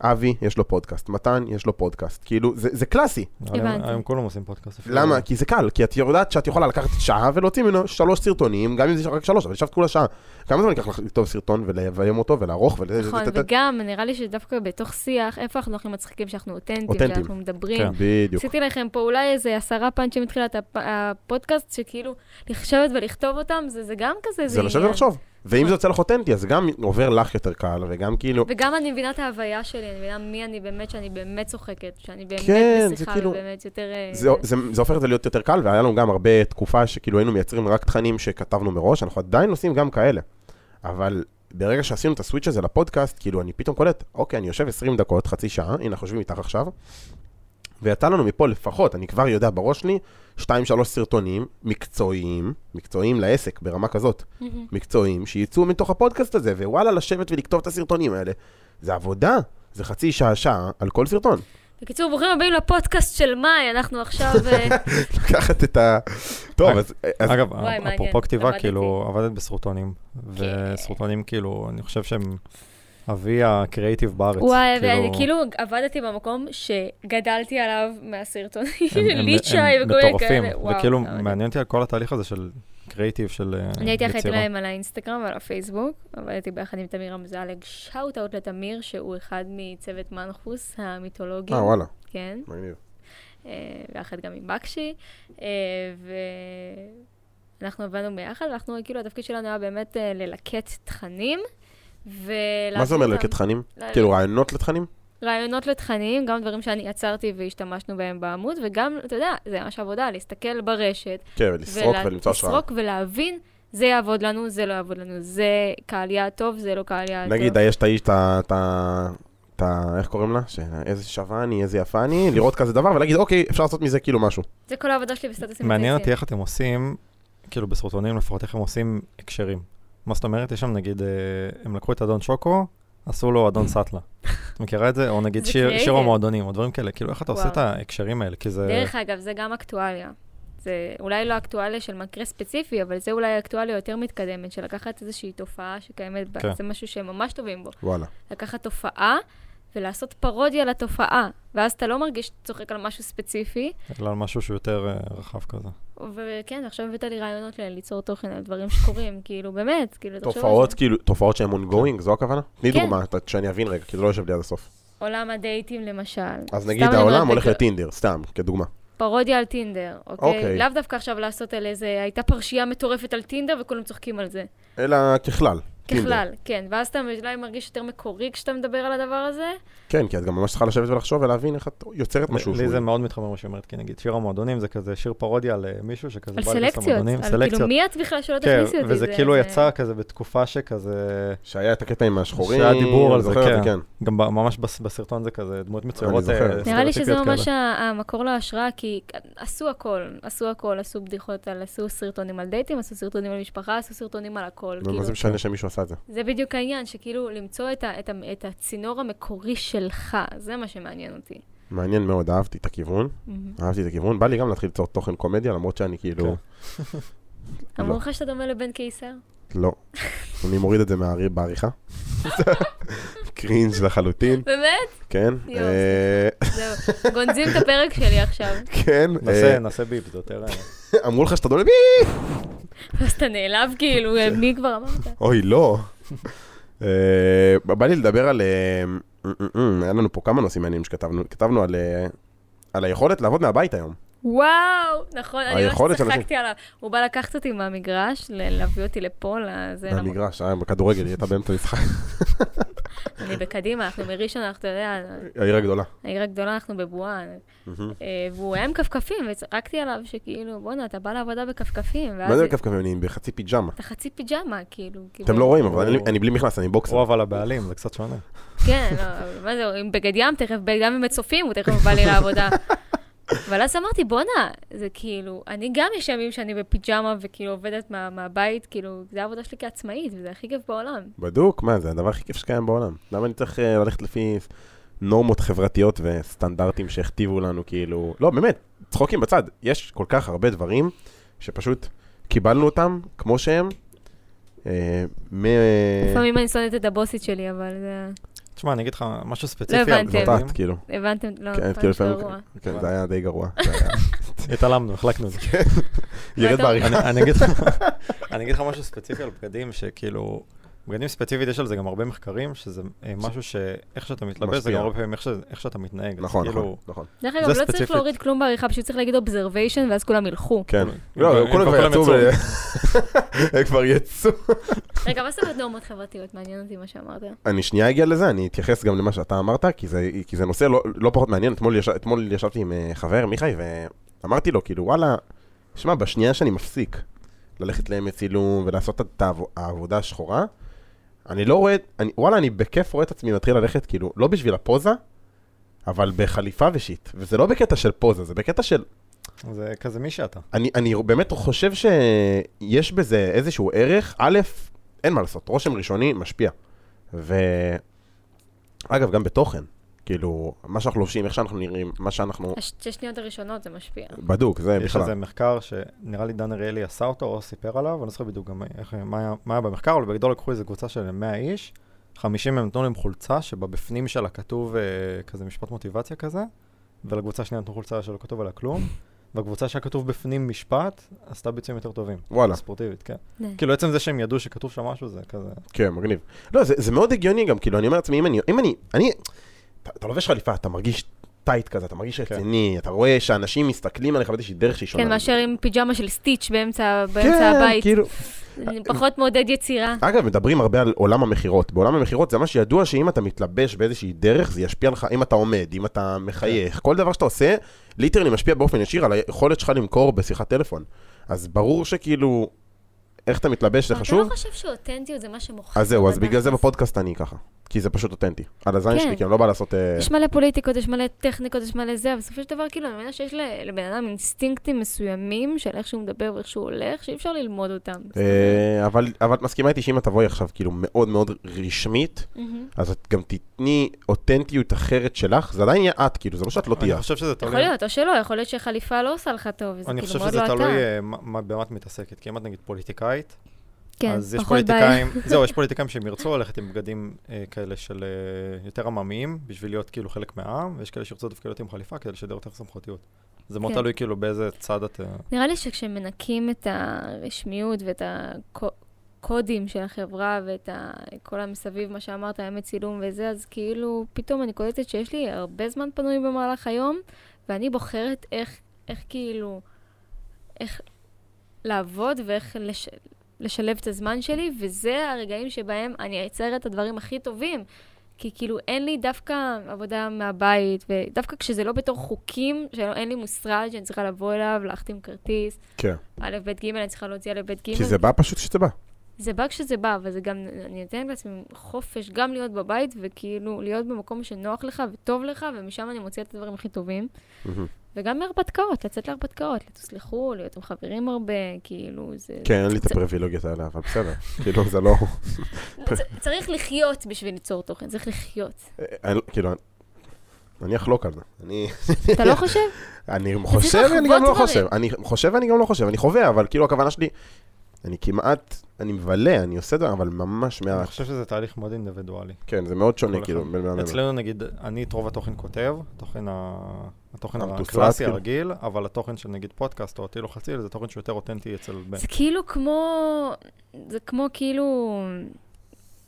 Speaker 2: אבי, יש לו פודקאסט, מתן, יש לו פודקאסט. כאילו, זה זה קלאסי.
Speaker 3: הבנתי.
Speaker 1: הבנתי.
Speaker 3: היום כולם עושים פודקאסט. אפילו-
Speaker 2: למה? כי זה קל, כי את יודעת שאת יכולה לקחת שעה ולהוציא ממנו שלוש סרטונים, גם אם זה רק שלוש, אבל ישבת כולה שעה. כמה זמן ייקח לך לכתוב סרטון ולביים אותו ולערוך ול...
Speaker 1: נכון,
Speaker 2: ת- ת- ת-
Speaker 1: וגם נראה לי שדווקא בתוך שיח, איפה אנחנו הכי מצחיקים, שאנחנו אותנטיים,
Speaker 2: אותנטיים.
Speaker 1: שאנחנו מדברים.
Speaker 3: כן.
Speaker 2: בדיוק.
Speaker 1: עשיתי לכם פה אולי איזה עשרה פאנצ'ים מתחילת הפ- הפודקאסט, שכאילו, לשבת ולכתוב אותם, זה, זה גם כזה,
Speaker 2: זה לשבת
Speaker 1: עניין.
Speaker 2: ולחשוב. ואם זה יוצא לך אותנטי, אז גם עובר לך יותר קל, וגם כאילו...
Speaker 1: וגם אני מבינה את ההוויה שלי, אני מבינה מי אני באמת, שאני באמת צוחקת, שאני באמת
Speaker 2: כן, זה
Speaker 1: משיחה,
Speaker 2: כאילו-
Speaker 1: אני באמת יותר... אה,
Speaker 2: זה, זה, זה הופך את זה להיות יותר קל, והיה לנו גם הרבה תקופה שכאילו היינו מייצרים רק תכנים שכתבנו מראש, אנחנו עדיין עושים גם כאלה. אבל ברגע שעשינו את הסוויץ' הזה לפודקאסט, כאילו אני פתאום קולט, אוקיי, אני יושב 20 דקות, חצי שעה, הנה, אנחנו יושבים איתך עכשיו, ויצא לנו מפה לפחות, אני כבר יודע בראש שלי, 2-3 סרטונים מקצועיים, מקצועיים לעסק ברמה כזאת,
Speaker 1: מהמם.
Speaker 2: מקצועיים, שיצאו מתוך הפודקאסט הזה, ווואלה, לשבת ולכתוב את הסרטונים האלה, זה עבודה, זה חצי שעה-שעה על כל סרטון.
Speaker 1: בקיצור, ברוכים הבאים לפודקאסט של מאי, אנחנו עכשיו...
Speaker 3: *laughs*
Speaker 1: אה,
Speaker 2: *laughs* לקחת את ה... טוב, אז... אז-
Speaker 3: אגב,
Speaker 1: וואי, מעניין,
Speaker 3: אפרופו כתיבה,
Speaker 1: למדתי. כן.
Speaker 3: כאילו, עבדת בסרטונים, וסרטונים, כאילו, אני חושב שהם אבי הקריאיטיב בארץ.
Speaker 1: וואי, ואני
Speaker 3: כאילו,
Speaker 1: כאילו עבדתי במקום שגדלתי עליו מהסרטונים, *laughs*
Speaker 3: הם- הם-
Speaker 1: ליצ'י
Speaker 3: הם
Speaker 1: וכל מיני
Speaker 3: מטורפים,
Speaker 1: כאלה. וואו,
Speaker 3: וכאילו,
Speaker 1: אבל-
Speaker 3: מעניין אותי על כל התהליך הזה של קריאיטיב, של אה, יצירה.
Speaker 1: אני הייתי אחראית להם על האינסטגרם ועל הפייסבוק, עבדתי ביחד עם תמיר אמזלג, שאוט אאוט לתמיר, שהוא אחד מצוות מנחוס המיתולוגי.
Speaker 2: אה, וואלה,
Speaker 1: כן,
Speaker 2: מגניב.
Speaker 1: אה, ביחד גם עם בקשי, אה, ואנחנו עבדנו ביחד, ואנחנו, כאילו, התפקיד שלנו היה באמת אה, ללקט תכנים, ולהביא
Speaker 2: מה זה אומר
Speaker 1: אותם.
Speaker 2: לקט תכנים?
Speaker 1: ל-
Speaker 2: כאילו רעיונות לתכנים?
Speaker 1: רעיונות לתכנים, גם דברים שאני עצרתי והשתמשנו בהם בעמוד, וגם, אתה יודע, זה ממש עבודה, להסתכל ברשת.
Speaker 2: כן, ולסרוק
Speaker 1: ולה-
Speaker 2: ולמצוא השראה.
Speaker 1: לסרוק ולהבין, זה יעבוד לנו, זה לא יעבוד לנו, זה קהל יעד טוב, זה לא קהל יעד טוב.
Speaker 2: נגיד, יש את האיש, את ה- את ה... את ה... איך קוראים לה? ש- איזה שווה אני, איזה יפה
Speaker 1: *laughs*
Speaker 2: אני, לראות כזה דבר ולהגיד, אוקיי, אפשר לעשות מזה כאילו משהו.
Speaker 1: זה כל העבודה שלי בסטטוסים.
Speaker 3: מעניין אותי
Speaker 1: הטייסים.
Speaker 3: איך אתם עושים, כאילו בסרטונים לפחות, איך הם עושים הקשרים. מה זאת אומרת, יש שם נגיד, אה, הם לקחו את אדון שוקו, עשו לו אדון סאטלה. את מכירה את זה? או נגיד
Speaker 1: זה
Speaker 3: שיר- שיר
Speaker 1: creative.
Speaker 3: המועדונים, או דברים כאלה. כאילו, איך אתה עושה
Speaker 1: וואו.
Speaker 3: את ההקשרים האלה? כי זה...
Speaker 1: דרך אגב, זה גם אקטואליה. זה אולי לא אקטואליה של מקרה ספציפי, אבל זה אולי אקטואליה יותר מתקדמת, של לקחת איזושהי תופעה שקיימת, בה-
Speaker 3: כן.
Speaker 1: זה משהו שהם ממש טובים בו.
Speaker 2: וואלה.
Speaker 1: לקחת תופעה ולעשות פרודיה לתופעה, ואז אתה לא מרגיש שאתה צוחק על משהו ספציפי,
Speaker 3: אלא על משהו שהוא יותר אה, רחב כזה.
Speaker 1: וכן, עכשיו הבאת לי רעיונות ל- ליצור תוכן על דברים שקורים, *laughs* כאילו, באמת, כאילו, תחשוב על זה.
Speaker 2: תופעות, כאילו, תופעות שהן ongoing, זו הכוונה? תני
Speaker 1: כן.
Speaker 2: דוגמה, ת- שאני אבין רגע, כי זה לא יושב לי עד הסוף.
Speaker 1: עולם הדייטים למשל.
Speaker 2: אז
Speaker 1: סתם
Speaker 2: נגיד,
Speaker 1: אני אומרת,
Speaker 2: העולם הולך
Speaker 1: כאילו,
Speaker 2: לטינדר, סתם, כדוגמה.
Speaker 1: פרודיה על טינדר, אוקיי?
Speaker 2: אוקיי.
Speaker 1: לאו דווקא עכשיו לעשות על איזה... הייתה פרשייה מטורפת על טינדר וכולם צוחקים על זה.
Speaker 2: אלא ככלל. טינדר.
Speaker 1: ככלל, כן. ואז אתה אולי מרגיש יותר מקורי כשאתה מדבר על הדבר הזה.
Speaker 2: כן, כי את גם ממש צריכה לשבת ולחשוב ולהבין איך את יוצרת משהו.
Speaker 3: לי
Speaker 2: שהוא-
Speaker 3: זה מאוד מתחבר מה שאומרת, כי נגיד שיר המועדונים זה כזה שיר פרודיה למישהו שכזה
Speaker 1: על
Speaker 3: בא לכנס
Speaker 1: סלקציות.
Speaker 3: למועדונים.
Speaker 1: על כאילו, מי את בכלל שלא
Speaker 3: כן,
Speaker 1: תכניסי אותי?
Speaker 3: וזה כאילו יצא כזה בתקופה שכזה...
Speaker 2: שהיה את הקטע עם השחורים.
Speaker 3: שהיה דיבור על זה,
Speaker 2: זוכר את
Speaker 3: כן. גם ב- ממש בס- בסרטון זה כזה דמויות מצוירות.
Speaker 2: זוכר.
Speaker 3: אה,
Speaker 2: נראה לי
Speaker 1: נראה לי שזה
Speaker 3: סטריאוטיפיות
Speaker 1: ממש
Speaker 3: כאלה.
Speaker 1: ה- המקור להשראה, כי עשו הכל, עשו הכל, עשו בדיחות על, עשו סרטונים על דייטים, עשו סרטונים על משפחה, עשו סרטונים על הכל.
Speaker 2: נו,
Speaker 1: כאילו,
Speaker 2: מה זה משנה שמישהו עשה את זה?
Speaker 1: זה בדיוק העניין, שכאילו למצוא את, ה, את, ה, את הצינור המקורי שלך, זה מה שמעניין אותי.
Speaker 2: מעניין מאוד, אהבתי את הכיוון. אהבתי את הכיוון, בא לי גם להתחיל ליצור תוכן קומדיה, למרות שאני כאילו...
Speaker 1: אמרו לך שאתה דומה לבן קיסר?
Speaker 2: לא. אני מוריד את זה מהערי- *laughs* בעריכה. קרינג' לחלוטין,
Speaker 1: באמת?
Speaker 2: כן.
Speaker 1: יואו,
Speaker 2: אה,
Speaker 1: זהו, גונזים את הפרק שלי עכשיו.
Speaker 2: כן.
Speaker 3: נעשה-
Speaker 2: אה,
Speaker 3: נעשה ביפ, זה יותר... אה,
Speaker 2: אמרו לך שאתה דומה בי?
Speaker 1: אז אתה נעלב כאילו,
Speaker 2: כן.
Speaker 1: מי כבר אמרת?
Speaker 2: אוי, *laughs* לא. אה, בא לי לדבר על... אה, אה, אה, היה לנו פה כמה נושאים מעניינים שכתבנו. כתבנו על... אה, על היכולת לעבוד מהבית היום.
Speaker 1: וואו, נכון, אני
Speaker 2: היכולת
Speaker 1: ממש
Speaker 2: של אנשים.
Speaker 1: צחקתי עליו. הוא בא לקחת אותי מהמגרש, ל- להביא אותי לפה, לזה, למ-
Speaker 2: מהמגרש, אה, בכדורגל, היא הייתה באמצע המשחק.
Speaker 1: אני בקדימה, אנחנו מראשון, אנחנו, אתה יודע,
Speaker 2: *laughs* העיר הגדולה.
Speaker 1: העיר הגדולה, אנחנו בבועה. אה, והוא היה עם כפכפים, וצחקתי עליו שכאילו, בואנה, אתה בא לעבודה בכפכפים,
Speaker 2: מה
Speaker 1: ואז
Speaker 2: זה כפכפים? אני בחצי פיג'מה.
Speaker 1: אתה חצי פיג'מה, כאילו.
Speaker 2: אתם
Speaker 1: כאילו-
Speaker 2: לא רואים, אבל אני-
Speaker 3: הוא-
Speaker 2: אני בלי מכנס, אני בוקסר.
Speaker 3: הוא אבל הבעלים, זה קצת שונה.
Speaker 1: כן, לא, מה זה, עם בגד ים, תכף בגד ים עם מצופים, הוא תכף בא לי לעבודה. אבל אז אמרתי, בואנה, זה כאילו, אני גם יש ימים שאני בפיג'מה וכאילו עובדת מה, מהבית, כאילו, זה העבודה שלי כעצמאית, וזה הכי כיף בעולם.
Speaker 2: בדוק, מה, זה הדבר הכי כיף שקיים בעולם. למה אני צריך אה, ללכת לפי נורמות חברתיות וסטנדרטים שהכתיבו לנו, כאילו... לא, באמת, צחוקים בצד. יש כל כך הרבה דברים שפשוט קיבלנו אותם כמו שהם. אה, מ...
Speaker 1: לפעמים אני שונאת את הבוסית שלי, אבל זה...
Speaker 3: תשמע, אני אגיד לך משהו ספציפי. על
Speaker 1: הבנתם.
Speaker 2: זאת
Speaker 3: דברים.
Speaker 2: את, כאילו.
Speaker 1: הבנתם? לא,
Speaker 2: כן,
Speaker 1: פעם
Speaker 2: כאילו
Speaker 1: של
Speaker 2: לפעמים...
Speaker 1: אירוע.
Speaker 2: כן, זה היה די *laughs* גרוע. זה היה-
Speaker 3: התעלמנו, החלקנו את זה.
Speaker 2: ירד
Speaker 1: ואתה-
Speaker 2: בעריכה. *laughs*
Speaker 3: אני- אני אגיד לך- אני אגיד לך משהו ספציפי על בגדים, שכאילו, בגדים ספציפית יש על זה גם הרבה מחקרים, שזה אה, משהו שאיך שאתה מתלבש, זה
Speaker 2: משפיע.
Speaker 3: גם הרבה פעמים איך שזה- איך שאתה מתנהג. אז
Speaker 2: נכון,
Speaker 3: כאילו,
Speaker 2: נכון, נכון.
Speaker 1: דרך
Speaker 3: זה
Speaker 1: אגב, לא צריך
Speaker 3: ספציפית.
Speaker 1: להוריד כלום בעריכה, פשוט צריך להגיד observation, ואז כולם ילכו.
Speaker 2: כן.
Speaker 3: אם כאילו, כבר-
Speaker 2: לא,
Speaker 3: אם
Speaker 2: כולם
Speaker 3: כבר
Speaker 2: כבר
Speaker 3: כולם
Speaker 2: יצאו,
Speaker 3: יצאו.
Speaker 2: ו- *laughs* הם כבר יצאו.
Speaker 1: רגע, מה זאת אומרת נורמות חברתיות? מעניין אותי מה שאמרת.
Speaker 2: אני שנייה אגיע לזה, אני אתייחס גם למה שאתה אמרת, כי זה, כי זה נושא לא, לא פחות מעניין. אתמול, יש, אתמול ישבתי עם אה, חבר, מיכאי, ואמרתי לו, כאילו, וואלה, שמע, בשנייה שאני מפסיק ללכת לימי צילום ולעשות את העב- העבודה השחורה, אני לא רואה, אני, וואלה, אני בכיף רואה את עצמי מתחיל ללכת, כאילו, לא בשביל הפוזה, אבל בחליפה ושיט. וזה לא בקטע של פוזה, זה בקטע של נכון.
Speaker 3: זה כזה מי שאתה.
Speaker 2: אני, אני באמת חושב שיש בזה איזשהו ערך. א', אין מה לעשות, רושם ראשוני משפיע. ו... אגב, גם בתוכן. כאילו, מה שאנחנו לובשים, איך שאנחנו נראים, מה שאנחנו...
Speaker 1: השתי שניות הראשונות זה משפיע.
Speaker 2: בדוק, זה
Speaker 3: יש
Speaker 2: אה, בכלל.
Speaker 3: איזה מחקר שנראה לי דן אריאלי עשה אותו או סיפר עליו, אני לא זוכר בדיוק גם איך, מה, היה- מה היה במחקר, אבל בגדול לקחו איזה קבוצה של 100 איש, 50 הם נתנו להם חולצה שבבפנים שלה כתוב אה, כזה משפט מוטיבציה כזה, ולקבוצה השנייה נתנו חולצה שלא כתוב עליה כלום, והקבוצה שהיה כתוב בפנים משפט, עשתה ביצועים יותר טובים.
Speaker 2: וואלה,
Speaker 3: ספורטיבית, כן.
Speaker 1: נה.
Speaker 3: כאילו עצם זה שהם ידעו שכתוב שם משהו זה כזה,
Speaker 2: כן, מגניב. לא, זה, זה מאוד הגיוני גם, כאילו, אני אומר לעצמי, אם אני... אם אני, אני אתה, אתה לובש חליפה, אתה מרגיש טייט כזה, אתה מרגיש רציני, אתה רואה שאנשים מסתכלים עליך באיזושהי דרך שהיא שונה.
Speaker 1: כן, מאשר עם פיג'מה של סטיץ' באמצע באמצע הבית.
Speaker 2: כאילו,
Speaker 1: זה פחות מעודד יצירה.
Speaker 2: אגב, מדברים הרבה על עולם המכירות. בעולם המכירות זה מה שידוע שאם אתה מתלבש באיזושהי דרך, זה ישפיע לך, אם אתה עומד, אם אתה
Speaker 1: כן.
Speaker 2: מחייך, כל דבר שאתה עושה, ליטרלי משפיע באופן ישיר על היכולת שלך למכור בשיחת טלפון. אז ברור שכאילו, איך אתה מתלבש זה
Speaker 1: אתה
Speaker 2: חשוב.
Speaker 1: לא חושב שאותנטיות זה מה שמוכר.
Speaker 2: אז זהו, אז
Speaker 1: בבית.
Speaker 2: בגלל זה בפודקאסט אני ככה. כי זה פשוט אותנטי. על הזין
Speaker 1: כן.
Speaker 2: שלי, כי אני לא בא לעשות... אה,
Speaker 1: יש מלא פוליטיקות, יש מלא טכניקות, יש מלא זה, אבל בסופו של דבר, כאילו, אני מבינה שיש ל- לבן אדם אינסטינקטים מסוימים של איך שהוא מדבר ואיך שהוא הולך, שאי אפשר ללמוד אותם.
Speaker 2: אה, אבל אבל את מסכימה איתי שאם את תבואי עכשיו כאילו מאוד מאוד רשמית,
Speaker 1: מהמם.
Speaker 2: אז את גם תתני אותנטיות אחרת שלך, זה עדיין יהיה את, כאילו, זה לא שאת לא
Speaker 1: נכון.
Speaker 2: תהיה.
Speaker 3: אני חושב שזה
Speaker 1: יכול
Speaker 3: תלוי,
Speaker 1: להיות, או שלא, יכול להיות שחליפה לא עושה לך טוב, וזה
Speaker 3: אני
Speaker 1: כאילו
Speaker 3: חושב
Speaker 1: מאוד
Speaker 3: שזה
Speaker 1: לא אתה.
Speaker 3: תלוי אה, מה- מה- במה את מתעסקת, כי אם את נגיד פוליטיקאית,
Speaker 1: כן,
Speaker 3: אז יש
Speaker 1: פחות בעיה.
Speaker 3: פוליטיקאים,
Speaker 1: *laughs*
Speaker 3: זהו, יש פוליטיקאים שהם ירצו ללכת עם בגדים אה, כאלה של אה, יותר עממיים, בשביל להיות כאילו חלק מהעם, ויש כאלה שירצו דווקא להיות עם חליפה כדי לשדר יותר סמכותיות. זה מאוד
Speaker 1: כן.
Speaker 3: תלוי כאילו באיזה צד את... אה,
Speaker 1: נראה לי שכשמנקים את הרשמיות ואת הקודים של החברה ואת ה... כל המסביב, מה שאמרת, ימי צילום וזה, אז כאילו פתאום אני קולטת שיש לי הרבה זמן פנוי במהלך היום, ואני בוחרת איך, איך כאילו, איך לעבוד ואיך לש... לשלב את הזמן שלי, וזה הרגעים שבהם אני אייצר את הדברים הכי טובים. כי כאילו אין לי דווקא עבודה מהבית, ודווקא כשזה לא בתור חוקים, שאין לי מוסרד שאני צריכה לבוא אליו, להחתים כרטיס,
Speaker 2: כן.
Speaker 1: א', ב', ג', אני צריכה להוציא א', ב', ג'.
Speaker 2: כי זה בא פשוט כשזה
Speaker 1: אוקיי.
Speaker 2: בא.
Speaker 1: זה בא כשזה בא, אבל זה גם, אני נותנת לעצמי חופש גם להיות בבית, וכאילו להיות במקום שנוח לך וטוב לך, ומשם אני מוציאה את הדברים הכי טובים.
Speaker 2: מהמם.
Speaker 1: וגם מהרפתקאות, לצאת להרפתקאות, לטוס לחו"ל, להיות עם חברים הרבה, כאילו, זה...
Speaker 2: כן, אין לי את
Speaker 1: זה-
Speaker 2: הפריבילוגיות האלה, אבל בסדר. כאילו, זה לא...
Speaker 1: צ- צריך לחיות בשביל ליצור תוכן, צריך לחיות.
Speaker 2: אני לא- כאילו, אני- אני אחלוק על זה. אני-
Speaker 1: אתה לא חושב?
Speaker 2: אני חושב, אני
Speaker 1: לחוות
Speaker 2: גם לא
Speaker 1: דברים.
Speaker 2: חושב. אני חושב, אני גם לא חושב. אני חווה, אבל כאילו, הכוונה שלי... אני כמעט, אני מבלה, אני עושה דבר, אבל ממש מה...
Speaker 3: אני חושב שזה תהליך מאוד אינדיבידואלי.
Speaker 2: כן, זה מאוד
Speaker 3: כל
Speaker 2: שונה,
Speaker 3: אחד.
Speaker 2: כאילו, בין בן אדם לבן.
Speaker 3: אצלנו נגיד, אני את רוב התוכן כותב, התוכן ה- התוכן
Speaker 2: המתוסרט,
Speaker 3: הקלאסי
Speaker 2: כאילו.
Speaker 3: הרגיל, אבל התוכן של נגיד פודקאסט או הטיל או חציל, זה תוכן שהוא יותר אותנטי אצל בן.
Speaker 1: זה כאילו כמו, זה כמו כאילו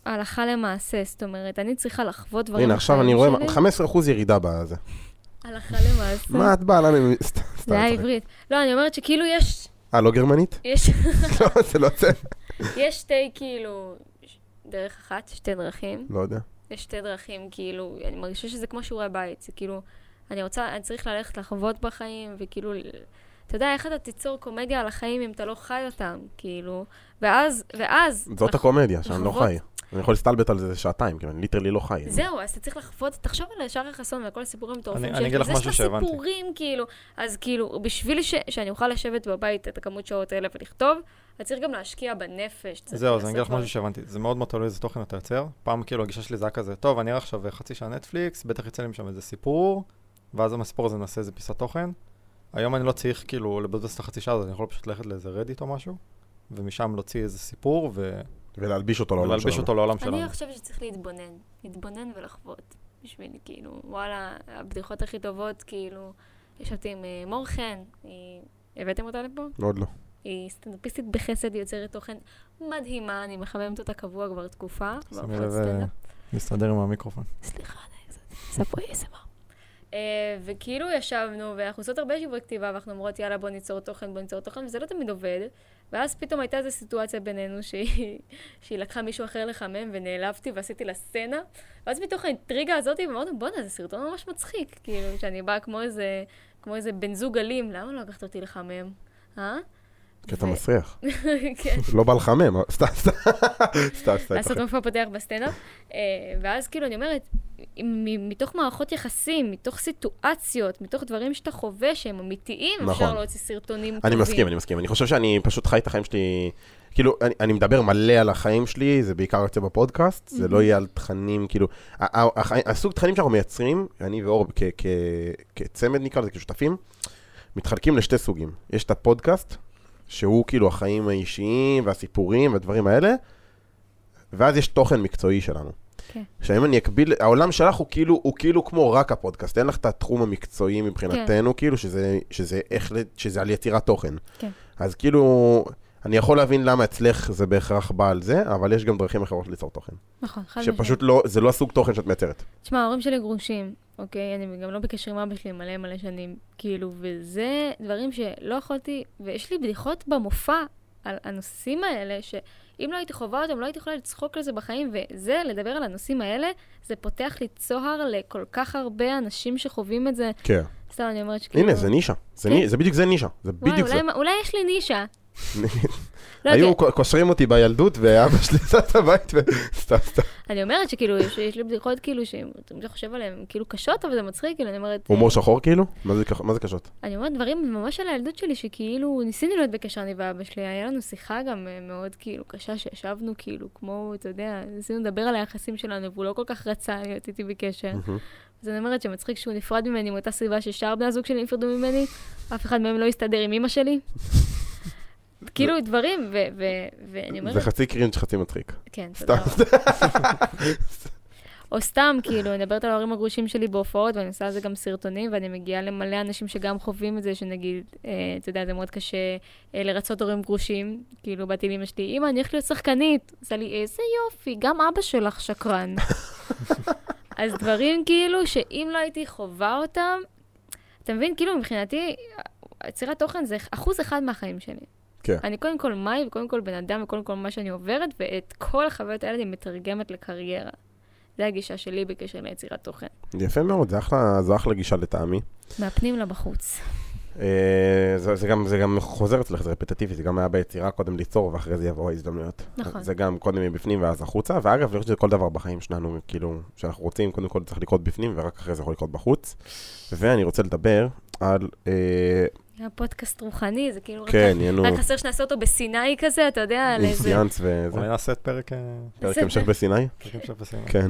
Speaker 1: הלכה למעשה, זאת אומרת, אני צריכה לחוות דברים
Speaker 2: הנה, עכשיו אני
Speaker 1: בחיים
Speaker 2: רואה
Speaker 1: שלי.
Speaker 2: 15% ירידה בזה.
Speaker 1: הלכה למעשה.
Speaker 2: מה את באה למה? סתם, סתם.
Speaker 1: זה היה
Speaker 2: צוחק.
Speaker 1: עברית. לא, אני אומרת שכאילו יש,
Speaker 2: אה, לא
Speaker 1: *laughs*
Speaker 2: גרמנית?
Speaker 1: יש,
Speaker 2: לא, זה לא זה.
Speaker 1: יש שתי כאילו, ש- דרך אחת, שתי דרכים.
Speaker 2: לא יודע.
Speaker 1: יש שתי דרכים, כאילו, אני מרגישה שזה כמו שיעורי בית, זה כאילו, אני רוצה, אני צריך ללכת לחוות בחיים, וכאילו, ל- אתה יודע, איך אתה תיצור קומדיה על החיים אם אתה לא חי אותם, כאילו, ואז, ואז...
Speaker 2: זאת הקומדיה, שאני לא
Speaker 1: לחוות.
Speaker 2: חי. אני יכול להסתלבט על זה שעתיים, כאילו, אני ליטרלי לא
Speaker 3: כן.
Speaker 2: חי.
Speaker 1: זהו, אז אתה צריך לחוות, תחשוב על שחר חסון ועל כל הסיפורים המטורפים
Speaker 3: אני-
Speaker 1: שיש
Speaker 3: אני אגיד
Speaker 1: לו.
Speaker 3: לך
Speaker 1: זה
Speaker 3: משהו
Speaker 1: יש לו
Speaker 3: שהבנתי.
Speaker 1: סיפורים, כאילו, אז כאילו, בשביל ש, שאני אוכל לשבת בבית את הכמות שעות האלה ולכתוב, אתה צריך גם להשקיע בנפש. צריך
Speaker 3: זהו, אז אני
Speaker 1: לעשות
Speaker 3: אגיד לך
Speaker 1: דברים.
Speaker 3: משהו שהבנתי, זה מאוד מאוד תלוי איזה תוכן אתה יוצר. פעם כאילו הגישה שלי זה היה כזה, טוב, אני אראה עכשיו חצי שעה נטפליקס, בטח יצא לי משם איזה סיפור, ואז עם הסיפור הזה נעשה איזה פיסת תוכן. היום אני לא צריך כאילו לבזבז את החצי שעה הזאת, אני יכול פשוט ללכת לאיזה רדיט או משהו, ומשם להוציא איזה סיפור ו-
Speaker 2: ולהלביש אותו לעולם
Speaker 3: ולהלביש
Speaker 2: שלנו.
Speaker 3: אותו לעולם שלנו.
Speaker 1: אני חושבת שצריך להתבונן, להתבונן ולחוות. בשביל, כאילו, וואלה, הבדיחות הכי טובות, כאילו, ישבתי עם אה, מור חן, היא- הבאתם אותה לפה?
Speaker 2: עוד לא.
Speaker 1: היא סטנדאפיסטית בחסד, היא יוצרת תוכן מדהימה, אני מחממת אותה קבוע כבר תקופה.
Speaker 3: שימי
Speaker 1: בעריכת
Speaker 3: לב, אה,
Speaker 1: סטנדאפ.
Speaker 3: מסתדר עם המיקרופון.
Speaker 1: סליחה, אני קצת- עושה פה ASMR. אה, וכאילו ישבנו, ואנחנו עושות הרבה שיעורי כתיבה, ואנחנו אומרות, יאללה, בוא ניצור תוכן, בוא ניצור תוכן, וזה לא תמיד עובד. ואז פתאום הייתה איזו סיטואציה בינינו שהיא, *laughs* שהיא לקחה מישהו אחר לחמם, ונעלבתי ועשיתי לה סצנה. ואז מתוך האינטריגה הזאת, אמרנו, בואנה, זה סרטון ממש מצחיק. כאילו, שאני באה כמו איזה, כמו איזה בן זוג אלים, למה לא לקחת אותי לחמם? אה?
Speaker 2: כי אתה
Speaker 1: ו-
Speaker 2: מסריח.
Speaker 1: *laughs* כן.
Speaker 2: *laughs* לא בא לחמם, אבל- סתם, סתם, סתם, סתם.
Speaker 1: לעשות
Speaker 2: צוחק.
Speaker 1: מופע פותח בסצנה. אה, ואז כאילו אני אומרת, מ- מתוך מערכות יחסים, מתוך סיטואציות, מתוך דברים שאתה חווה שהם אמיתיים,
Speaker 2: נכון.
Speaker 1: אפשר להוציא סרטונים טובים.
Speaker 2: אני מסכים, אני מסכים. אני חושב שאני פשוט חי את החיים שלי, כאילו, אני, אני מדבר מלא על החיים שלי, זה בעיקר יוצא בפודקאסט, זה לא יהיה על תכנים, כאילו, ה- ה- החיים- הסוג תכנים שאנחנו מייצרים, אני ואור כ- כ- כצמד נקרא לזה, כשותפים, מתחלקים לשתי סוגים. יש את הפודקאסט, שהוא כאילו החיים האישיים והסיפורים והדברים האלה, ואז יש תוכן מקצועי שלנו.
Speaker 1: כן.
Speaker 2: שאם אני אקביל, העולם שלך הוא כאילו, הוא כאילו כמו רק הפודקאסט, אין לך את התחום המקצועי מבחינתנו, כאילו שזה, שזה איך, ל- שזה על יצירת תוכן.
Speaker 1: כן.
Speaker 2: אז כאילו, אני יכול להבין למה אצלך זה בהכרח בא על זה, אבל יש גם דרכים אחרות ליצור תוכן.
Speaker 1: נכון, חד משמעית.
Speaker 2: שפשוט לא, זה לא הסוג תוכן שאת מייצרת.
Speaker 1: תשמע, ההורים שלי גרושים, אוקיי? אני גם לא בקשר עם אבא שלי מלא מלא שנים, כאילו, וזה דברים שלא יכולתי, ויש לי בדיחות במופע על הנושאים האלה, שאם לא הייתי חווה אותם, לא הייתי יכולה לצחוק על זה בחיים, וזה, לדבר על הנושאים האלה, זה פותח לי צוהר לכל כך הרבה אנשים שחווים את זה.
Speaker 2: כן.
Speaker 1: סתם, אני אומרת שכאילו...
Speaker 2: הנה, זה נישה. זה,
Speaker 1: כן.
Speaker 2: ני, זה בדיוק זה נישה. זה
Speaker 1: וואי,
Speaker 2: בדיוק זה.
Speaker 1: אולי, אולי יש לי
Speaker 2: *laughs*
Speaker 1: נישה. לא,
Speaker 2: היו
Speaker 1: כי-
Speaker 2: ק- קושרים אותי בילדות, ואבא שלי עשה את הבית, ו- סתם, סתם.
Speaker 1: אני אומרת שכאילו, יש, יש לי בדיחות כאילו, שאם אתה חושב עליהן, הן כאילו קשות, אבל זה מצחיק, כאילו, אני אומרת...
Speaker 2: הומור שחור כאילו? מה זה כח- מה זה קשות?
Speaker 1: אני אומרת דברים ממש על הילדות שלי, שכאילו ניסינו להיות בקשר אני ואבא שלי, היה לנו שיחה גם אה, מאוד כאילו קשה, שישבנו כאילו, כמו, אתה יודע, ניסינו לדבר על היחסים שלנו, והוא לא כל כך רצה להיות איתי בקשר.
Speaker 2: מהמם.
Speaker 1: אז אני אומרת שמצחיק שהוא נפרד ממני מאותה סיבה ששאר בני הזוג שלי נפרדו ממני, אף אחד מהם לא הסתדר עם אימא
Speaker 2: *laughs*
Speaker 1: שלי. כאילו דברים, ו- ו- ואני אומרת...
Speaker 2: זה חצי קרינג' חצי מצחיק.
Speaker 1: כן, תודה
Speaker 2: סתם,
Speaker 1: רבה.
Speaker 2: סתם.
Speaker 1: או סתם, כאילו, אני מדברת על ההורים הגרושים שלי בהופעות, ואני עושה על זה גם סרטונים, ואני מגיעה למלא אנשים שגם חווים את זה, שנגיד, אה, אתה יודע, זה מאוד קשה אה, לרצות הורים גרושים. כאילו, באתי לאמא שלי, אמא, אני הולכת להיות שחקנית. עושה לי, איזה יופי, גם אבא שלך שקרן. אז דברים כאילו, שאם לא הייתי חווה אותם, אתה מבין, כאילו, מבחינתי, יצירת תוכן זה אחוז אחד מהחיים שלי.
Speaker 2: כן.
Speaker 1: אני קודם כל מאי, וקודם כל בן אדם, וקודם כל מה שאני עוברת, ואת כל החוויות האלה אני מתרגמת לקריירה. זו הגישה שלי בקשר ליצירת תוכן.
Speaker 2: יפה מאוד, זה אחלה- זו אחלה גישה לטעמי.
Speaker 1: מהפנים לבחוץ.
Speaker 2: אה, זה, זה, גם, זה גם חוזר אצלך, זה רפטטיבי, זה גם היה ביצירה קודם ליצור ואחרי זה יבואו ההזדמנויות.
Speaker 1: נכון.
Speaker 2: זה גם קודם מבפנים ואז החוצה, ואגב, אני חושב שזה כל דבר בחיים שלנו, כאילו, שאנחנו רוצים, קודם כל צריך לקרות בפנים ורק אחרי זה יכול לקרות בחוץ. ואני רוצה לדבר על, אה,
Speaker 1: היה פודקאסט רוחני, זה כאילו... רק-
Speaker 2: כן, ינו,
Speaker 1: רק חסר שנעשה אותו בסיני כזה, אתה יודע, על
Speaker 2: עם
Speaker 1: איזה...
Speaker 2: סיאנס וזה,
Speaker 3: אולי נעשה את פרק... אה,
Speaker 2: פרק המשך בסיני.
Speaker 3: פרק המשך בסיני.
Speaker 2: כן.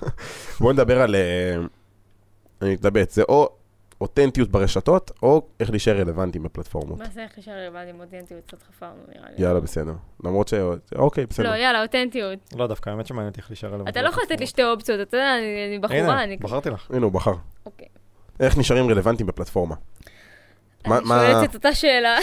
Speaker 2: *laughs* בואו נדבר על... אה, אני מתלבט, זה או אותנטיות ברשתות, או איך להישאר רלוונטיים בפלטפורמות.
Speaker 1: מה זה איך נשאר לבד עם אותנטיות? קצת חפרנו נראה לי.
Speaker 2: יאללה, בסדר. למרות ש... אוקיי,
Speaker 1: לא,
Speaker 2: בסדר.
Speaker 1: יאללה, אותנטיות.
Speaker 2: כן.
Speaker 3: לא, דווקא האמת שמעניין אותי איך להישאר עליו.
Speaker 1: אתה לא יכול לתת לי שתי אופציות, אתה יודע, אני אני בחורה, אני... כאילו-
Speaker 3: הנה, בחרתי לך.
Speaker 2: הנה, הוא בחר.
Speaker 1: אוקיי.
Speaker 2: איך נשארים רלוונטיים בפלטפורמה?
Speaker 1: אני
Speaker 2: מה- מה-
Speaker 1: שואלת את אותה שאלה.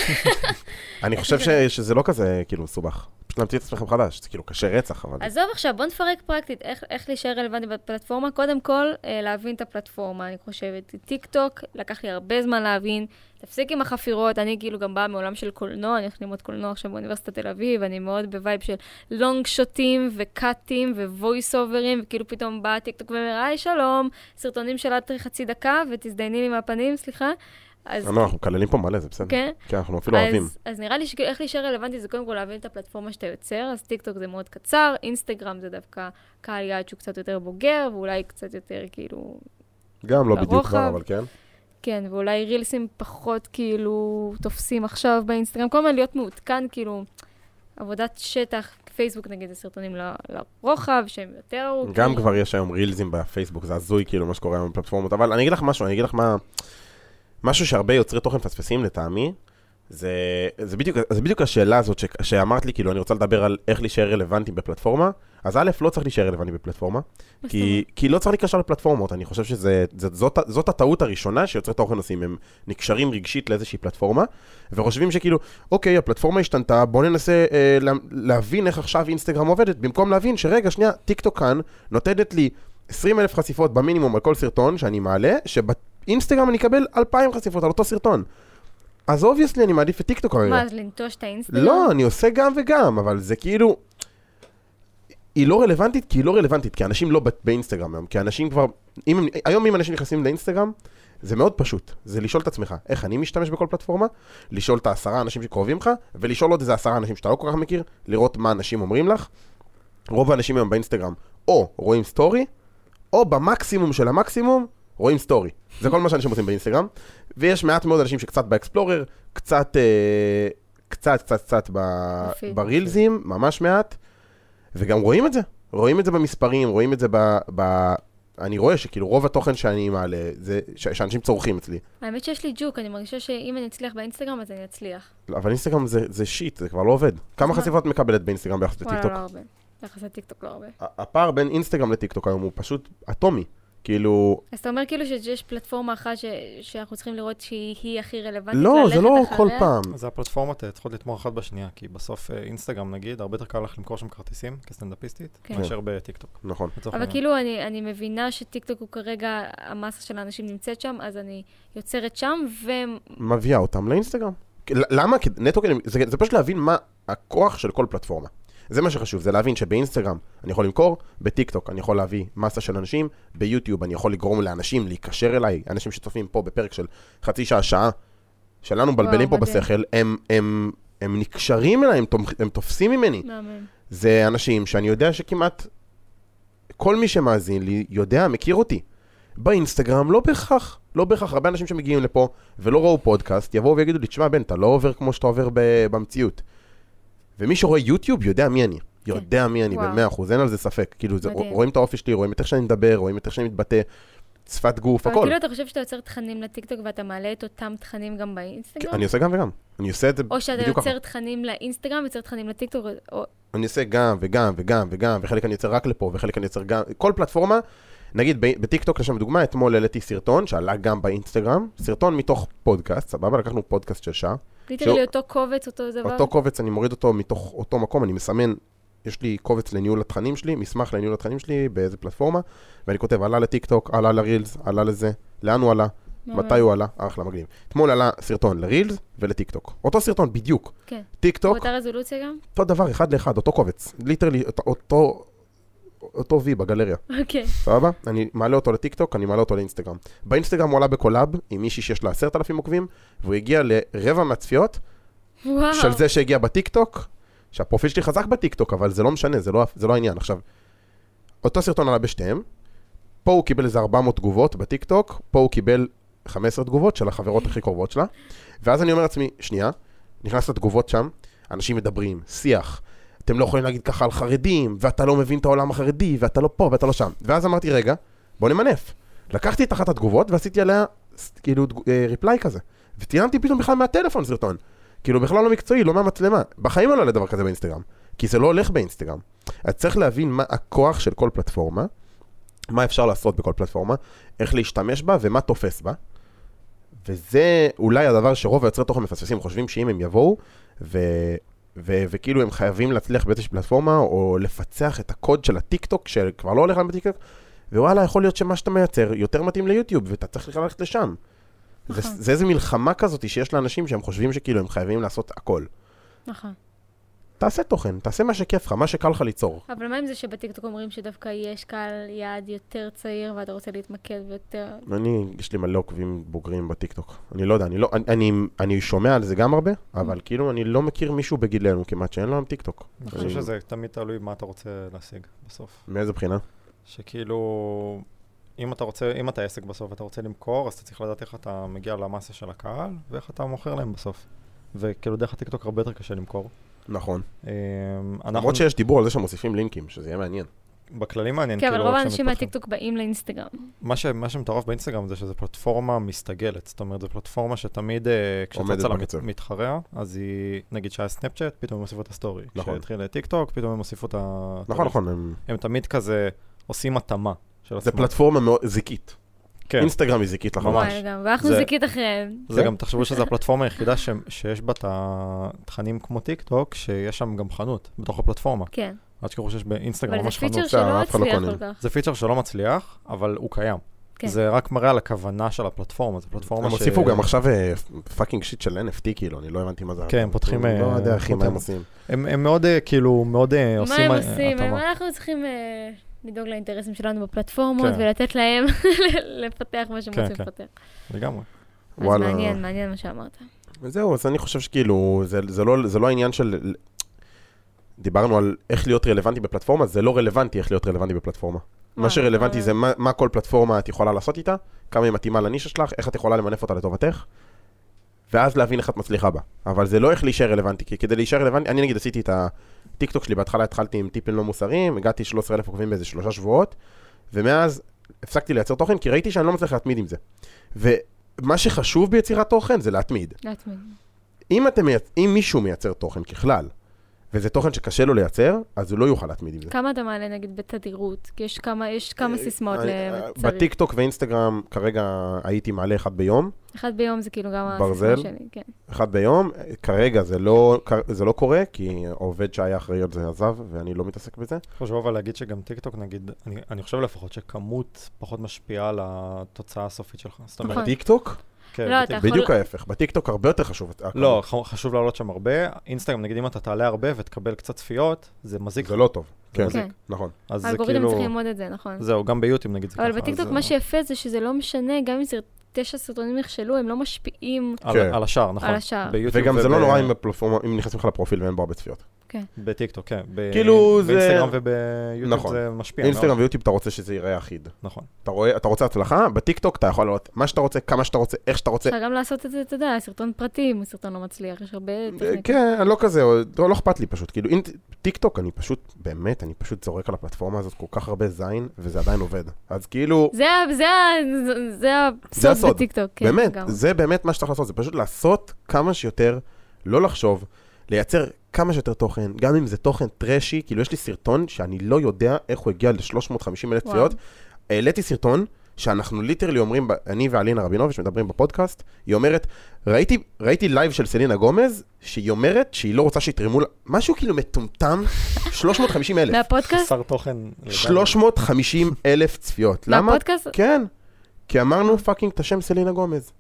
Speaker 2: אני חושב ש- שזה לא כזה, כאילו, מסובך. פשוט להמציא את עצמך מחדש, זה כאילו קשה רצח, אבל...
Speaker 1: עזוב עכשיו, בוא נפרק פרקטית, איך, איך להישאר רלוונטי בפלטפורמה. קודם כל, אה, להבין את הפלטפורמה, אני חושבת. טיק טוק, לקח לי הרבה זמן להבין. תפסיק עם החפירות, אני כאילו גם באה מעולם של קולנוע, אני הולכת ללמוד קולנוע עכשיו באוניברסיטת תל אביב, אני מאוד בווייב של לונג שוטים וקאטים וויס אוברים, וכאילו פתאום בא טיק טוק ואומר, היי, שלום, סרטונים של עד חצי דקה, ותזדייני לי מהפנים, סליחה. אז
Speaker 2: לא, אנחנו מקללים פה מלא, זה בסדר.
Speaker 1: כן.
Speaker 2: כן, אנחנו אפילו אוהבים.
Speaker 1: אז, אז נראה לי שכאילו איך להישאר רלוונטי זה קודם כל להבין את הפלטפורמה שאתה יוצר, אז טיקטוק זה מאוד קצר, אינסטגרם זה דווקא קהל יעד שהוא קצת יותר בוגר, ואולי קצת יותר כאילו...
Speaker 2: גם לא בדיוק
Speaker 1: ברוחב.
Speaker 2: כבר, אבל כן.
Speaker 1: כן, ואולי רילסים פחות כאילו תופסים עכשיו באינסטגרם, כל הזמן להיות מעודכן כאילו עבודת שטח, פייסבוק נגיד זה סרטונים ל- לרוחב שהם יותר ארוכים.
Speaker 2: גם כבר יש היום רילזים בפייסבוק, זה הזוי כאילו מה שקורה היום בפלטפורמות, אבל אני אגיד לך משהו, אני אגיד לך מה... משהו שהרבה יוצרי תוכן מפספסים לטעמי, זה, זה, בדיוק, זה בדיוק השאלה הזאת ש, שאמרת לי, כאילו, אני רוצה לדבר על איך להישאר רלוונטי בפלטפורמה. אז א', לא צריך להישאר רלוונטי בפלטפורמה,
Speaker 1: מה זאת
Speaker 2: כי, כי לא צריך להיקשר לפלטפורמות. אני חושב שזאת זאת הטעות הראשונה שיוצרי תוכן עושים, הם נקשרים רגשית לאיזושהי פלטפורמה, וחושבים שכאילו, אוקיי, הפלטפורמה השתנתה, בוא ננסה אה, לה, להבין איך עכשיו אינסטגרם עובדת, במקום להבין שרגע, שנייה, טיק טוק כאן נותנת לי 20 אלף חשיפות במינימום על כל סרטון שאני מעלה, שבאינסטגרם אני אקבל 2,000 חשיפות על אותו סרטון. אז אובייסלי אני לא- מעדיף את טיקטוק הרגע.
Speaker 1: מה, אז לנטוש את האינסטגרם?
Speaker 2: לא, אני עושה גם וגם, אבל זה כאילו... היא לא רלוונטית כי היא לא רלוונטית, כי אנשים לא ב- באינסטגרם היום, כי אנשים כבר... אם, הם- היום אם אנשים נכנסים לאינסטגרם, זה מאוד פשוט, זה לשאול את עצמך, איך אני משתמש בכל פלטפורמה, לשאול את העשרה אנשים שקרובים לך, ולשאול עוד איזה עשרה אנשים שאתה לא כל כך מכיר, לראות מה אנשים אומרים לך. רוב האנשים היום באינסטגרם או רואים סטורי, או במקסימום של המקסימום, רואים סטורי. זה כל מה שאנשים עושים באינסטגרם, ויש מעט מאוד אנשים שקצת באקספלורר, קצת, אה, קצת, קצת, קצת ב...
Speaker 1: בפיד.
Speaker 2: ברילזים, ממש מעט, וגם רואים את זה. רואים את זה במספרים, רואים את זה ב... ב... אני רואה שכאילו רוב התוכן שאני מעלה, זה ש... שאנשים צורכים אצלי.
Speaker 1: האמת שיש לי ג'וק, אני מרגישה שאם אני אצליח באינסטגרם, אז אני אצליח.
Speaker 2: לא, אבל אינסטגרם זה, זה שיט, זה כבר לא עובד. כמה
Speaker 1: מה?
Speaker 2: חשיפות את מקבלת באינסטגרם ביחס
Speaker 1: וואלה,
Speaker 2: לטיקטוק?
Speaker 1: לא הרבה. יחס לטיקטוק לא הרבה.
Speaker 2: ה- הפער בין אינסטגרם לטיקטוק היום הוא פשוט אטומי. כאילו,
Speaker 1: אז אתה אומר כאילו שיש פלטפורמה אחת ש... שאנחנו צריכים לראות שהיא היא הכי רלוונטית
Speaker 2: לא, זה
Speaker 1: ללכת
Speaker 2: לא
Speaker 1: אחריה?
Speaker 2: כל פעם.
Speaker 3: אז הפלטפורמות אה, צריכות לתמוך אחת בשנייה, כי בסוף אה, אינסטגרם נגיד, הרבה יותר קל לך למכור שם כרטיסים כסטנדאפיסטית,
Speaker 1: כן.
Speaker 3: מאשר בטיקטוק.
Speaker 2: נכון.
Speaker 3: לצורך
Speaker 1: אבל
Speaker 3: העניין.
Speaker 1: כאילו אני, אני מבינה שטיקטוק הוא כרגע, המסה של האנשים נמצאת שם, אז אני יוצרת שם,
Speaker 2: מביאה אותם לאינסטגרם. כי- ל- למה? כי נטו, כדי- זה, זה פשוט להבין מה הכוח של כל פלטפורמה. זה מה שחשוב, זה להבין שבאינסטגרם אני יכול למכור, בטיקטוק אני יכול להביא מסה של אנשים, ביוטיוב אני יכול לגרום לאנשים להיקשר אליי, אנשים שצופים פה בפרק של חצי שעה, שעה, שלנו מבלבלים פה
Speaker 1: וואו, מדהים.
Speaker 2: בשכל, הם, הם, הם נקשרים אליי, הם, תומכ- הם תופסים ממני.
Speaker 1: ומאמן.
Speaker 2: זה אנשים שאני יודע שכמעט כל מי שמאזין לי יודע, מכיר אותי. באינסטגרם לא בהכרח, לא בהכרח, הרבה אנשים שמגיעים לפה ולא ראו פודקאסט, יבואו ויגידו לי, תשמע בן, אתה לא עובר כמו שאתה עובר ב- במציאות. ומי שרואה יוטיוב יודע מי אני, יודע מי אני
Speaker 1: כן. וואו.
Speaker 2: במאה אחוז, אין על זה ספק. כאילו, זה,
Speaker 1: מדהים.
Speaker 2: רואים את האופי שלי, רואים את איך שאני מדבר, רואים את איך שאני מתבטא, שפת גוף,
Speaker 1: אבל
Speaker 2: הכל.
Speaker 1: כאילו אתה חושב שאתה יוצר תכנים לטיקטוק ואתה מעלה את אותם תכנים גם באינסטגרם?
Speaker 2: אני עושה גם וגם, אני עושה את זה
Speaker 1: כאילו, או שאתה
Speaker 2: בדיוק ככה.
Speaker 1: יוצר תכנים לאינסטגרם ויוצר תכנים לטיקטוק, או...
Speaker 2: אני עושה גם וגם וגם וגם, וחלק אני יוצר רק לפה, וחלק אני יוצר גם, כל פלטפורמה, נגיד ב- בטיקטוק, לשם דוגמה, אתמול העליתי סרטון שעלה גם באינסטגרם, סרטון מתוך פודקאסט, סבבה? לקחנו פודקאסט של שעה,
Speaker 1: ליטרלי אותו קובץ, אותו דבר.
Speaker 2: אותו קובץ, אני מוריד אותו מתוך אותו מקום, אני מסמן, יש לי קובץ לניהול התכנים שלי, מסמך לניהול התכנים שלי, באיזה פלטפורמה, ואני כותב, עלה לטיקטוק, עלה לרילס, עלה לזה, לאן הוא עלה,
Speaker 1: ממש.
Speaker 2: מתי הוא עלה, אחלה מגניב. אתמול עלה סרטון לרילס ולטיקטוק, אותו סרטון בדיוק,
Speaker 1: כן.
Speaker 2: טיקטוק,
Speaker 1: באותה רזולוציה גם?
Speaker 2: אותו דבר, אחד לאחד, אותו קובץ. ליטרלי, אותו- אותו... אותו וי בגלריה,
Speaker 1: אוקיי.
Speaker 2: סבבה? אני מעלה אותו לטיקטוק, אני מעלה אותו לאינסטגרם. באינסטגרם הוא עלה בקולאב עם מישהי שיש לה עשרת אלפים עוקבים, והוא הגיע לרבע מהצפיות
Speaker 1: וואו.
Speaker 2: של זה שהגיע בטיקטוק, שהפרופיל שלי חזק בטיקטוק, אבל זה לא משנה, זה לא, זה לא העניין. עכשיו, אותו סרטון עלה בשתיהם, פה הוא קיבל איזה 400 תגובות בטיקטוק, פה הוא קיבל 15 תגובות של החברות הכי קרובות שלה, ואז אני אומר לעצמי, שנייה, נכנס לתגובות שם, אנשים מדברים, שיח, אתם לא יכולים להגיד ככה על חרדים, ואתה לא מבין את העולם החרדי, ואתה לא פה, ואתה לא שם. ואז אמרתי, רגע, בוא נמנף. לקחתי את אחת התגובות ועשיתי עליה ס- כאילו תג- אה, ריפליי כזה, וצילמתי פתאום בכלל מהטלפון סרטון. כאילו בכלל לא מקצועי, לא מהמצלמה. בחיים לא עלה דבר כזה באינסטגרם, כי זה לא הולך באינסטגרם. אז צריך להבין מה הכוח של כל פלטפורמה, מה אפשר לעשות בכל פלטפורמה, איך להשתמש בה ומה תופס בה. וזה אולי הדבר שרוב היוצרי תוכן מפספסים, חושבים שאם הם יבואו, ו... ו- וכאילו הם חייבים להצליח באיזושהי פלטפורמה, או לפצח את הקוד של הטיקטוק, שכבר לא הולך להם בטיקטוק, ווואלה, יכול להיות שמה שאתה מייצר יותר מתאים ליוטיוב, ואתה צריך בכלל ללכת לשם. זה,
Speaker 1: נכון.
Speaker 2: זה איזה מלחמה כזאת שיש לאנשים שהם חושבים שכאילו הם חייבים לעשות הכל.
Speaker 1: נכון.
Speaker 2: תעשה תוכן, תעשה מה שכיף לך, מה שקל לך ליצור.
Speaker 1: אבל מה עם זה שבטיקטוק אומרים שדווקא יש קהל יעד יותר צעיר ואתה רוצה להתמקד ויותר...
Speaker 2: אני, יש לי מלא עוקבים בוגרים בטיקטוק. אני לא יודע, אני לא, אני, אני, אני שומע על זה גם הרבה, אבל כאילו אני לא מכיר מישהו בגילנו כמעט שאין לו היום טיקטוק.
Speaker 3: אני חושב שזה תמיד תלוי מה אתה רוצה להשיג בסוף.
Speaker 2: מאיזה בחינה?
Speaker 3: שכאילו, אם אתה רוצה, אם אתה עסק בסוף ואתה רוצה למכור, אז אתה צריך לדעת איך אתה מגיע למאסה של הקהל, ואיך אתה מוכר להם בסוף. וכאילו דרך הטיקטוק הרבה יותר קשה למכור.
Speaker 2: נכון.
Speaker 3: אמ, אנחנו-
Speaker 2: למרות שיש דיבור על זה שמוסיפים לינקים, שזה יהיה מעניין.
Speaker 3: בכללי מעניין,
Speaker 1: כן, אבל
Speaker 3: כאילו,
Speaker 1: רוב
Speaker 3: איך שהם
Speaker 1: האנשים
Speaker 3: מתפתחים.
Speaker 1: מהטיקטוק באים לאינסטגרם.
Speaker 3: מה ש- מה שמטורף באינסטגרם זה שזו פלטפורמה מסתגלת. זאת אומרת, זו פלטפורמה שתמיד, אה,
Speaker 2: עומדת
Speaker 3: כשצצה לה מת-
Speaker 2: בקצב.
Speaker 3: מתחרה, אז היא, נגיד שהיה סנאפצ'אט, פתאום הם הוסיפו את הסטורי.
Speaker 2: נכון.
Speaker 3: כשהתחיל טיק טוק, פתאום הם הוסיפו את ה...
Speaker 2: נכון, נכון, הם-
Speaker 3: הם תמיד כזה עושים התאמה של
Speaker 2: זה
Speaker 3: עצמם.
Speaker 2: פלטפורמה מאוד זיקית.
Speaker 3: כן.
Speaker 2: אינסטגרם היא זיקית
Speaker 3: ממש.
Speaker 2: לחמאס.
Speaker 1: וואי, גם, ואנחנו
Speaker 3: זה-
Speaker 1: זיקית אחריהם.
Speaker 3: זה
Speaker 2: כן.
Speaker 3: גם, תחשבו שזו הפלטפורמה היחידה ש- שיש בה את התכנים כמו טיק טוק, שיש שם גם חנות, בתוך הפלטפורמה.
Speaker 1: כן.
Speaker 3: אל תשכחו שיש באינסטגרם
Speaker 1: אבל זה
Speaker 3: ממש חנות.
Speaker 2: חנות,
Speaker 1: פיצ'ר
Speaker 2: אה,
Speaker 1: שלא
Speaker 2: אף אחד לא
Speaker 1: הצליח
Speaker 2: קונה.
Speaker 1: כל כך.
Speaker 3: זה פיצ'ר שלא מצליח, אבל הוא קיים.
Speaker 1: כן.
Speaker 3: זה רק מראה על הכוונה של הפלטפורמה, זו פלטפורמה
Speaker 2: הם
Speaker 3: ש...
Speaker 2: הוסיפו גם עכשיו אה, פאקינג שיט של NFT, כאילו, אני לא הבנתי מה זה.
Speaker 3: כן, הם פותחים,
Speaker 2: אני לא
Speaker 3: אה,
Speaker 2: יודע, אחי, מה
Speaker 3: פותחים.
Speaker 2: הם עושים.
Speaker 3: הם, הם מאוד, אה, כאילו, מאוד אה,
Speaker 1: מה
Speaker 3: עושים
Speaker 1: הם
Speaker 3: אה,
Speaker 1: עושים?
Speaker 3: התאמה.
Speaker 1: מה אנחנו צריכים אה, לדאוג לאינטרסים שלנו בפלטפורמות
Speaker 3: כן.
Speaker 1: ולתת להם *laughs* לפתח מה שהם
Speaker 3: כן,
Speaker 1: רוצים
Speaker 3: כן.
Speaker 1: לפתח.
Speaker 3: לגמרי.
Speaker 1: אז
Speaker 2: וואלה.
Speaker 1: מעניין, מעניין מה שאמרת.
Speaker 2: וזהו, אז אני חושב שכאילו, זה, זה, לא, זה לא העניין של... דיברנו על איך להיות רלוונטי בפלטפורמה, זה לא רלוונטי איך להיות רלוונטי בפלטפורמה. מה
Speaker 1: וואי,
Speaker 2: שרלוונטי
Speaker 1: וואי.
Speaker 2: זה מה, מה כל פלטפורמה את יכולה לעשות איתה, כמה היא מתאימה לנישה שלך, איך את יכולה למנף אותה לטובתך, ואז להבין איך את מצליחה בה. אבל זה לא איך להישאר רלוונטי, כי כדי להישאר רלוונטי, אני נגיד עשיתי את הטיקטוק שלי, בהתחלה התחלתי עם טיפים לא מוסריים, הגעתי 13,000 עוקבים באיזה שלושה שבועות, ומאז הפסקתי לייצר תוכן, כי ראיתי שאני לא מצליח להתמיד עם זה. ומה שחשוב ביצירת תוכן זה להתמיד.
Speaker 1: להתמיד.
Speaker 2: אם, אתם, מייצ- אם מישהו מייצר תוכן ככלל, וזה תוכן שקשה לו לייצר, אז הוא לא יוכל להתמיד עם זה.
Speaker 1: כמה אתה מעלה נגיד בתדירות? כי יש כמה, יש
Speaker 3: אה,
Speaker 1: כמה סיסמאות
Speaker 2: אני- אה,
Speaker 1: לצריך.
Speaker 2: בטיקטוק ואינסטגרם כרגע הייתי מעלה אחד ביום,
Speaker 1: אחד ביום זה כאילו גם
Speaker 2: ברזל.
Speaker 1: הסיסמה שלי. כן.
Speaker 2: אחד ביום, כרגע זה לא, זה לא קורה, כי העובד שהיה אחראי על זה עזב, ואני לא מתעסק בזה.
Speaker 3: חשוב אבל להגיד שגם טיקטוק, נגיד, אני, אני חושב לפחות שכמות פחות משפיעה על התוצאה הסופית שלך. זאת אומרת,
Speaker 1: נכון.
Speaker 2: טיקטוק?
Speaker 3: כן,
Speaker 1: לא,
Speaker 3: בטיק-
Speaker 1: אתה- יכול-
Speaker 2: בדיוק ההפך, בטיקטוק הרבה יותר חשוב.
Speaker 3: לא, ח- חשוב לעלות שם הרבה. אינסטגרם, נגיד, אם אתה תעלה הרבה ותקבל קצת צפיות, זה מזיק.
Speaker 2: זה לא טוב.
Speaker 3: זה
Speaker 2: כן,
Speaker 3: מזיק.
Speaker 1: כן.
Speaker 2: נכון.
Speaker 3: אז זה
Speaker 1: האלגוריתם
Speaker 3: כאילו...
Speaker 1: צריך ללמוד את זה, נכון.
Speaker 3: זהו, גם ביוטיוב נגיד זה ככה.
Speaker 1: אבל
Speaker 3: אז
Speaker 1: בטיקטוק
Speaker 3: זה-
Speaker 1: מה שיפה זה שזה לא משנה, גם אם זה תשע סרטונים נכשלו, הם לא משפיעים
Speaker 3: על,
Speaker 2: כן.
Speaker 3: על השאר, נכון.
Speaker 1: על השאר.
Speaker 3: ביוטיוב
Speaker 2: וגם זה
Speaker 3: וב-
Speaker 2: לא נורא אם בפלטפורמה- אם נכנסים לך לפרופיל ואין בו הרבה צפיות.
Speaker 3: בטיקטוק, כן. ב-
Speaker 2: כאילו, זה-
Speaker 3: באינסטגרם וביוטיוב
Speaker 2: נכון.
Speaker 3: זה משפיע. מאוד.
Speaker 2: אינסטגרם ויוטיוב אתה רוצה שזה ייראה אחיד.
Speaker 3: נכון.
Speaker 2: אתה רואה, אתה רוצה הצלחה, בטיקטוק אתה יכול לעלות מה שאתה רוצה, כמה שאתה רוצה, איך שאתה רוצה.
Speaker 1: אפשר גם לעשות את זה, אתה יודע, סרטון פרטי, אם הוא סרטון לא מצליח, יש הרבה טכניקה.
Speaker 2: כן, אני לא כזה, לא, לא אכפת לי פשוט, כאילו, אין, טיק טוק, אני פשוט, באמת, אני פשוט זורק על הפלטפורמה הזאת כל כך הרבה זין, וזה עדיין עובד. אז כאילו,
Speaker 1: זה ה- זה ה- זה- זה
Speaker 2: זה הסוד.
Speaker 1: הסוד בטיקטוק. כן,
Speaker 2: באמת,
Speaker 1: לגמרי.
Speaker 2: זה באמת מה שצריך לעשות, זה פשוט לעשות כמה שיותר, לא לחשוב, לייצר כמה שיותר תוכן, גם אם זה תוכן טרשי, כאילו, יש לי סרטון שאני לא יודע איך הוא הגיע ל-350 אלף
Speaker 1: וואו.
Speaker 2: צפיות. העליתי סרטון, שאנחנו ליטרלי אומרים, ב- אני ואלינה רבינוביץ' מדברים בפודקאסט, היא אומרת, ראיתי, ראיתי לייב של סלינה גומז, שהיא אומרת שהיא לא רוצה שיתרמו לה, משהו כאילו
Speaker 1: *laughs*
Speaker 2: מטומטם, 350 אלף.
Speaker 3: *laughs*
Speaker 1: מהפודקאסט?
Speaker 3: חסר תוכן. לגמרי.
Speaker 2: 350 אלף צפיות. למה?
Speaker 1: מהפודקאסט?
Speaker 2: כן. כי אמרנו פאקינג את השם סלינה גומז.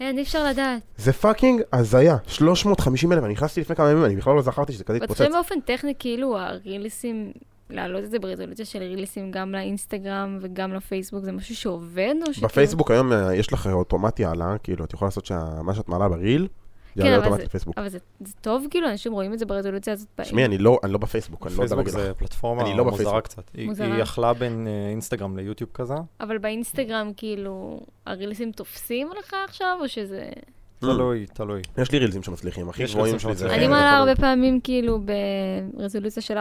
Speaker 1: אין, אי אפשר לדעת.
Speaker 2: זה פאקינג הזיה. 350 אלף, אני נכנסתי לפני כמה ימים, אני בכלל לא זכרתי שזה כזה התפוצץ.
Speaker 1: מתחילים באופן טכני, כאילו, הרילסים, להעלות את זה ברזולוציה של רילסים גם לאינסטגרם וגם לפייסבוק, זה משהו שעובד או שכאילו...
Speaker 2: בפייסבוק היום אה, יש לך אוטומטי העלאה, כאילו, את יכולה לעשות שה- מה שאת מעלה בריל,
Speaker 1: כן,
Speaker 2: יעלה
Speaker 1: אבל
Speaker 2: אוטומטי
Speaker 1: זה-
Speaker 2: לפייסבוק.
Speaker 1: אבל זה זה טוב, כאילו, אנשים רואים את זה ברזולוציה הזאת. ב-
Speaker 2: תשמעי, אני לא אני לא בפייסבוק, אני לא יודע
Speaker 3: פייסבוק
Speaker 2: להגיד לך.
Speaker 3: זה פלטפורמה
Speaker 2: אני לא
Speaker 3: מוזרה
Speaker 2: בפייסבוק.
Speaker 3: קצת. היא-
Speaker 1: מוזרה.
Speaker 3: היא יכלה בין אה, אינסטגרם ליוטיוב כזה.
Speaker 1: אבל באינסטגרם, כאילו, הרילסים תופסים לך עכשיו, או שזה...
Speaker 2: לא.
Speaker 3: תלוי, תלוי.
Speaker 2: יש לי רילזים שמצליחים, הכי
Speaker 3: יש
Speaker 2: גבוהים
Speaker 3: רילזים
Speaker 2: שלי זה...
Speaker 3: שמצליחים.
Speaker 1: אני
Speaker 3: יכול
Speaker 1: מעלה
Speaker 2: יכול
Speaker 1: הרבה
Speaker 2: להיות.
Speaker 1: פעמים, כאילו, ברזולוציה של 4-3,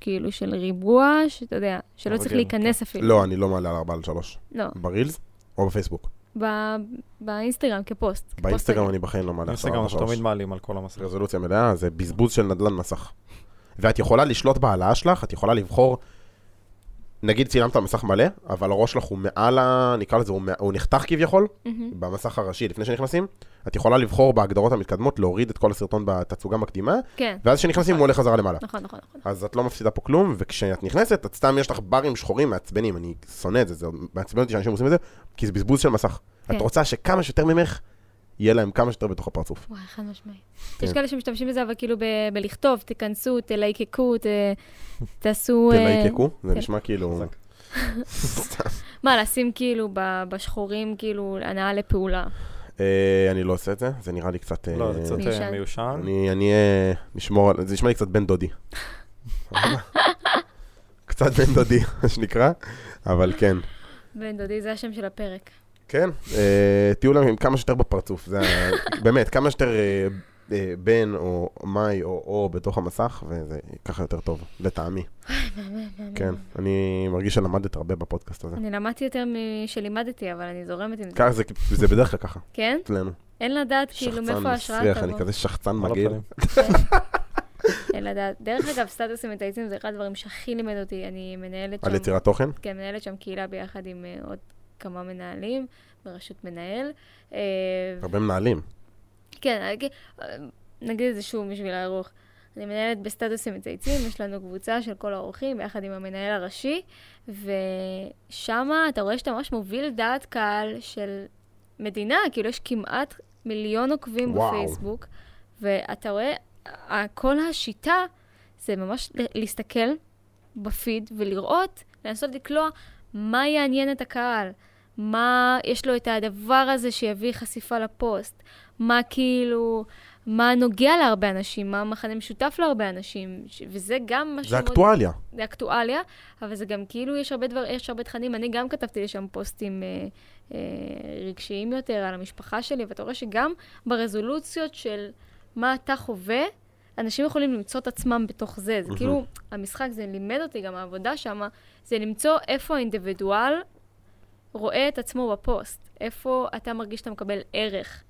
Speaker 1: כאילו, של ריבוע, שאתה יודע, שלא
Speaker 3: אבל
Speaker 1: צריך
Speaker 3: כן,
Speaker 1: להיכנס אפילו.
Speaker 2: לא, אני לא מעלה על 4 על 3.
Speaker 1: לא,
Speaker 2: ברילס או בפייסבוק.
Speaker 1: ב- באינסטגרם, כפוסט. כפוסט
Speaker 2: באינסטגרם
Speaker 1: רגיל.
Speaker 2: אני בחיים לא מעלה על 4
Speaker 3: אינסטגרם
Speaker 2: על
Speaker 3: אנחנו
Speaker 2: 3.
Speaker 3: תמיד מעלים על כל המסך.
Speaker 2: רזולוציה מלאה, זה בזבוז של נדלן מסך. ואת יכולה לשלוט בהעלאה שלך, את יכולה לבחור, נגיד צילמת מסך מלא, אבל הראש שלך הוא מעל ה... נקרא לזה, הוא, מע- הוא נחתך כביכול,
Speaker 1: מהמם.
Speaker 2: במסך הראשי לפני שנכנסים. את יכולה לבחור בהגדרות המתקדמות להוריד את כל הסרטון בתצוגה מקדימה,
Speaker 1: כן,
Speaker 2: ואז כשנכנסים הוא עולה חזרה למעלה.
Speaker 1: נכון, נכון, נכון.
Speaker 2: אז את לא מפסידה פה כלום, וכשאת נכנסת, את סתם יש לך ברים שחורים מעצבנים, אני שונא את זה, זה מעצבן אותי שאנשים עושים את זה, כי זה בזבוז של מסך.
Speaker 1: כן.
Speaker 2: את רוצה שכמה שיותר ממך, יהיה להם כמה שיותר בתוך הפרצוף.
Speaker 1: וואי, חד משמעית.
Speaker 2: כן.
Speaker 1: יש כאלה שמשתמשים בזה, אבל כאילו ב- בלכתוב, תיכנסו, תלייקקו, ת- תעשו... אה,
Speaker 2: תלייקקו, זה
Speaker 1: כן.
Speaker 2: נשמע כאילו...
Speaker 3: חזק.
Speaker 2: סתם.
Speaker 1: מה, לשים כאילו ב- בשחורים, כאילו, הנאה לפעולה.
Speaker 2: אה, אני לא עושה את זה, זה נראה לי קצת... אה,
Speaker 3: לא, זה קצת אה,
Speaker 1: מיושן.
Speaker 3: מיושן.
Speaker 2: אני אני, אה, נשמור על... זה נשמע לי קצת בן דודי. *laughs* קצת בן דודי, *laughs* מה שנקרא, אבל כן.
Speaker 1: בן דודי, זה השם של הפרק.
Speaker 2: *laughs* כן, אה, תהיו להם עם כמה שיותר בפרצוף, זה ה- באמת, כמה שיותר אה, אה, בן או מאי או או בתוך המסך, וזה ככה יותר טוב, לטעמי. כן, אני מרגיש שלמדת הרבה בפודקאסט הזה.
Speaker 1: אני למדתי יותר משלימדתי, אבל אני זורמת עם זה.
Speaker 2: ככה זה, זה בדרך כלל ככה,
Speaker 1: כן?
Speaker 2: אצלנו.
Speaker 1: אין לדעת כאילו
Speaker 2: כן. שחצן
Speaker 1: מאיפה ההשראה
Speaker 2: מסריח, אני
Speaker 1: תבוא.
Speaker 2: כזה שחצן
Speaker 3: על
Speaker 1: *laughs*
Speaker 2: מגעיל.
Speaker 3: הפנים.
Speaker 1: אין לדעת. דרך אגב, סטטוסים מטייצים זה אחד הדברים שהכי לימד אותי. אני מנהלת
Speaker 2: על
Speaker 1: שם,
Speaker 2: יצירת תוכן?
Speaker 1: כן, מנהלת שם קהילה ביחד עם אה, עוד כמה מנהלים, בראשות מנהל. אה,
Speaker 2: הרבה מנהלים.
Speaker 1: כן, אני אגיד- אה, נגיד את זה שוב בשביל הערוך. אני מנהלת בסטטוסים מצייצים, יש לנו קבוצה של כל האורחים ביחד עם המנהל הראשי, ושמה אתה רואה שאתה ממש מוביל דעת קהל של מדינה, כאילו יש כמעט מיליון עוקבים
Speaker 2: וואו.
Speaker 1: בפייסבוק, ואתה רואה, ה- כל השיטה זה ממש ל- להסתכל בפיד ולראות, לנסות לקלוע מה יעניין את הקהל, מה יש לו את הדבר הזה שיביא חשיפה לפוסט, מה כאילו, מה נוגע להרבה אנשים, מה המכנה משותף להרבה אנשים, ש- וזה גם משהו
Speaker 2: זה אקטואליה.
Speaker 1: זה אקטואליה, אבל זה גם כאילו, יש הרבה דבר, יש הרבה תכנים, אני גם כתבתי לשם פוסטים אה, אה, רגשיים יותר על המשפחה שלי, ואתה רואה שגם ברזולוציות של מה אתה חווה, אנשים יכולים למצוא את עצמם בתוך זה. זה
Speaker 2: מהמם.
Speaker 1: כאילו, המשחק, זה לימד אותי, גם העבודה שם, זה למצוא איפה האינדיבידואל רואה את עצמו בפוסט, איפה אתה מרגיש שאתה מקבל ערך.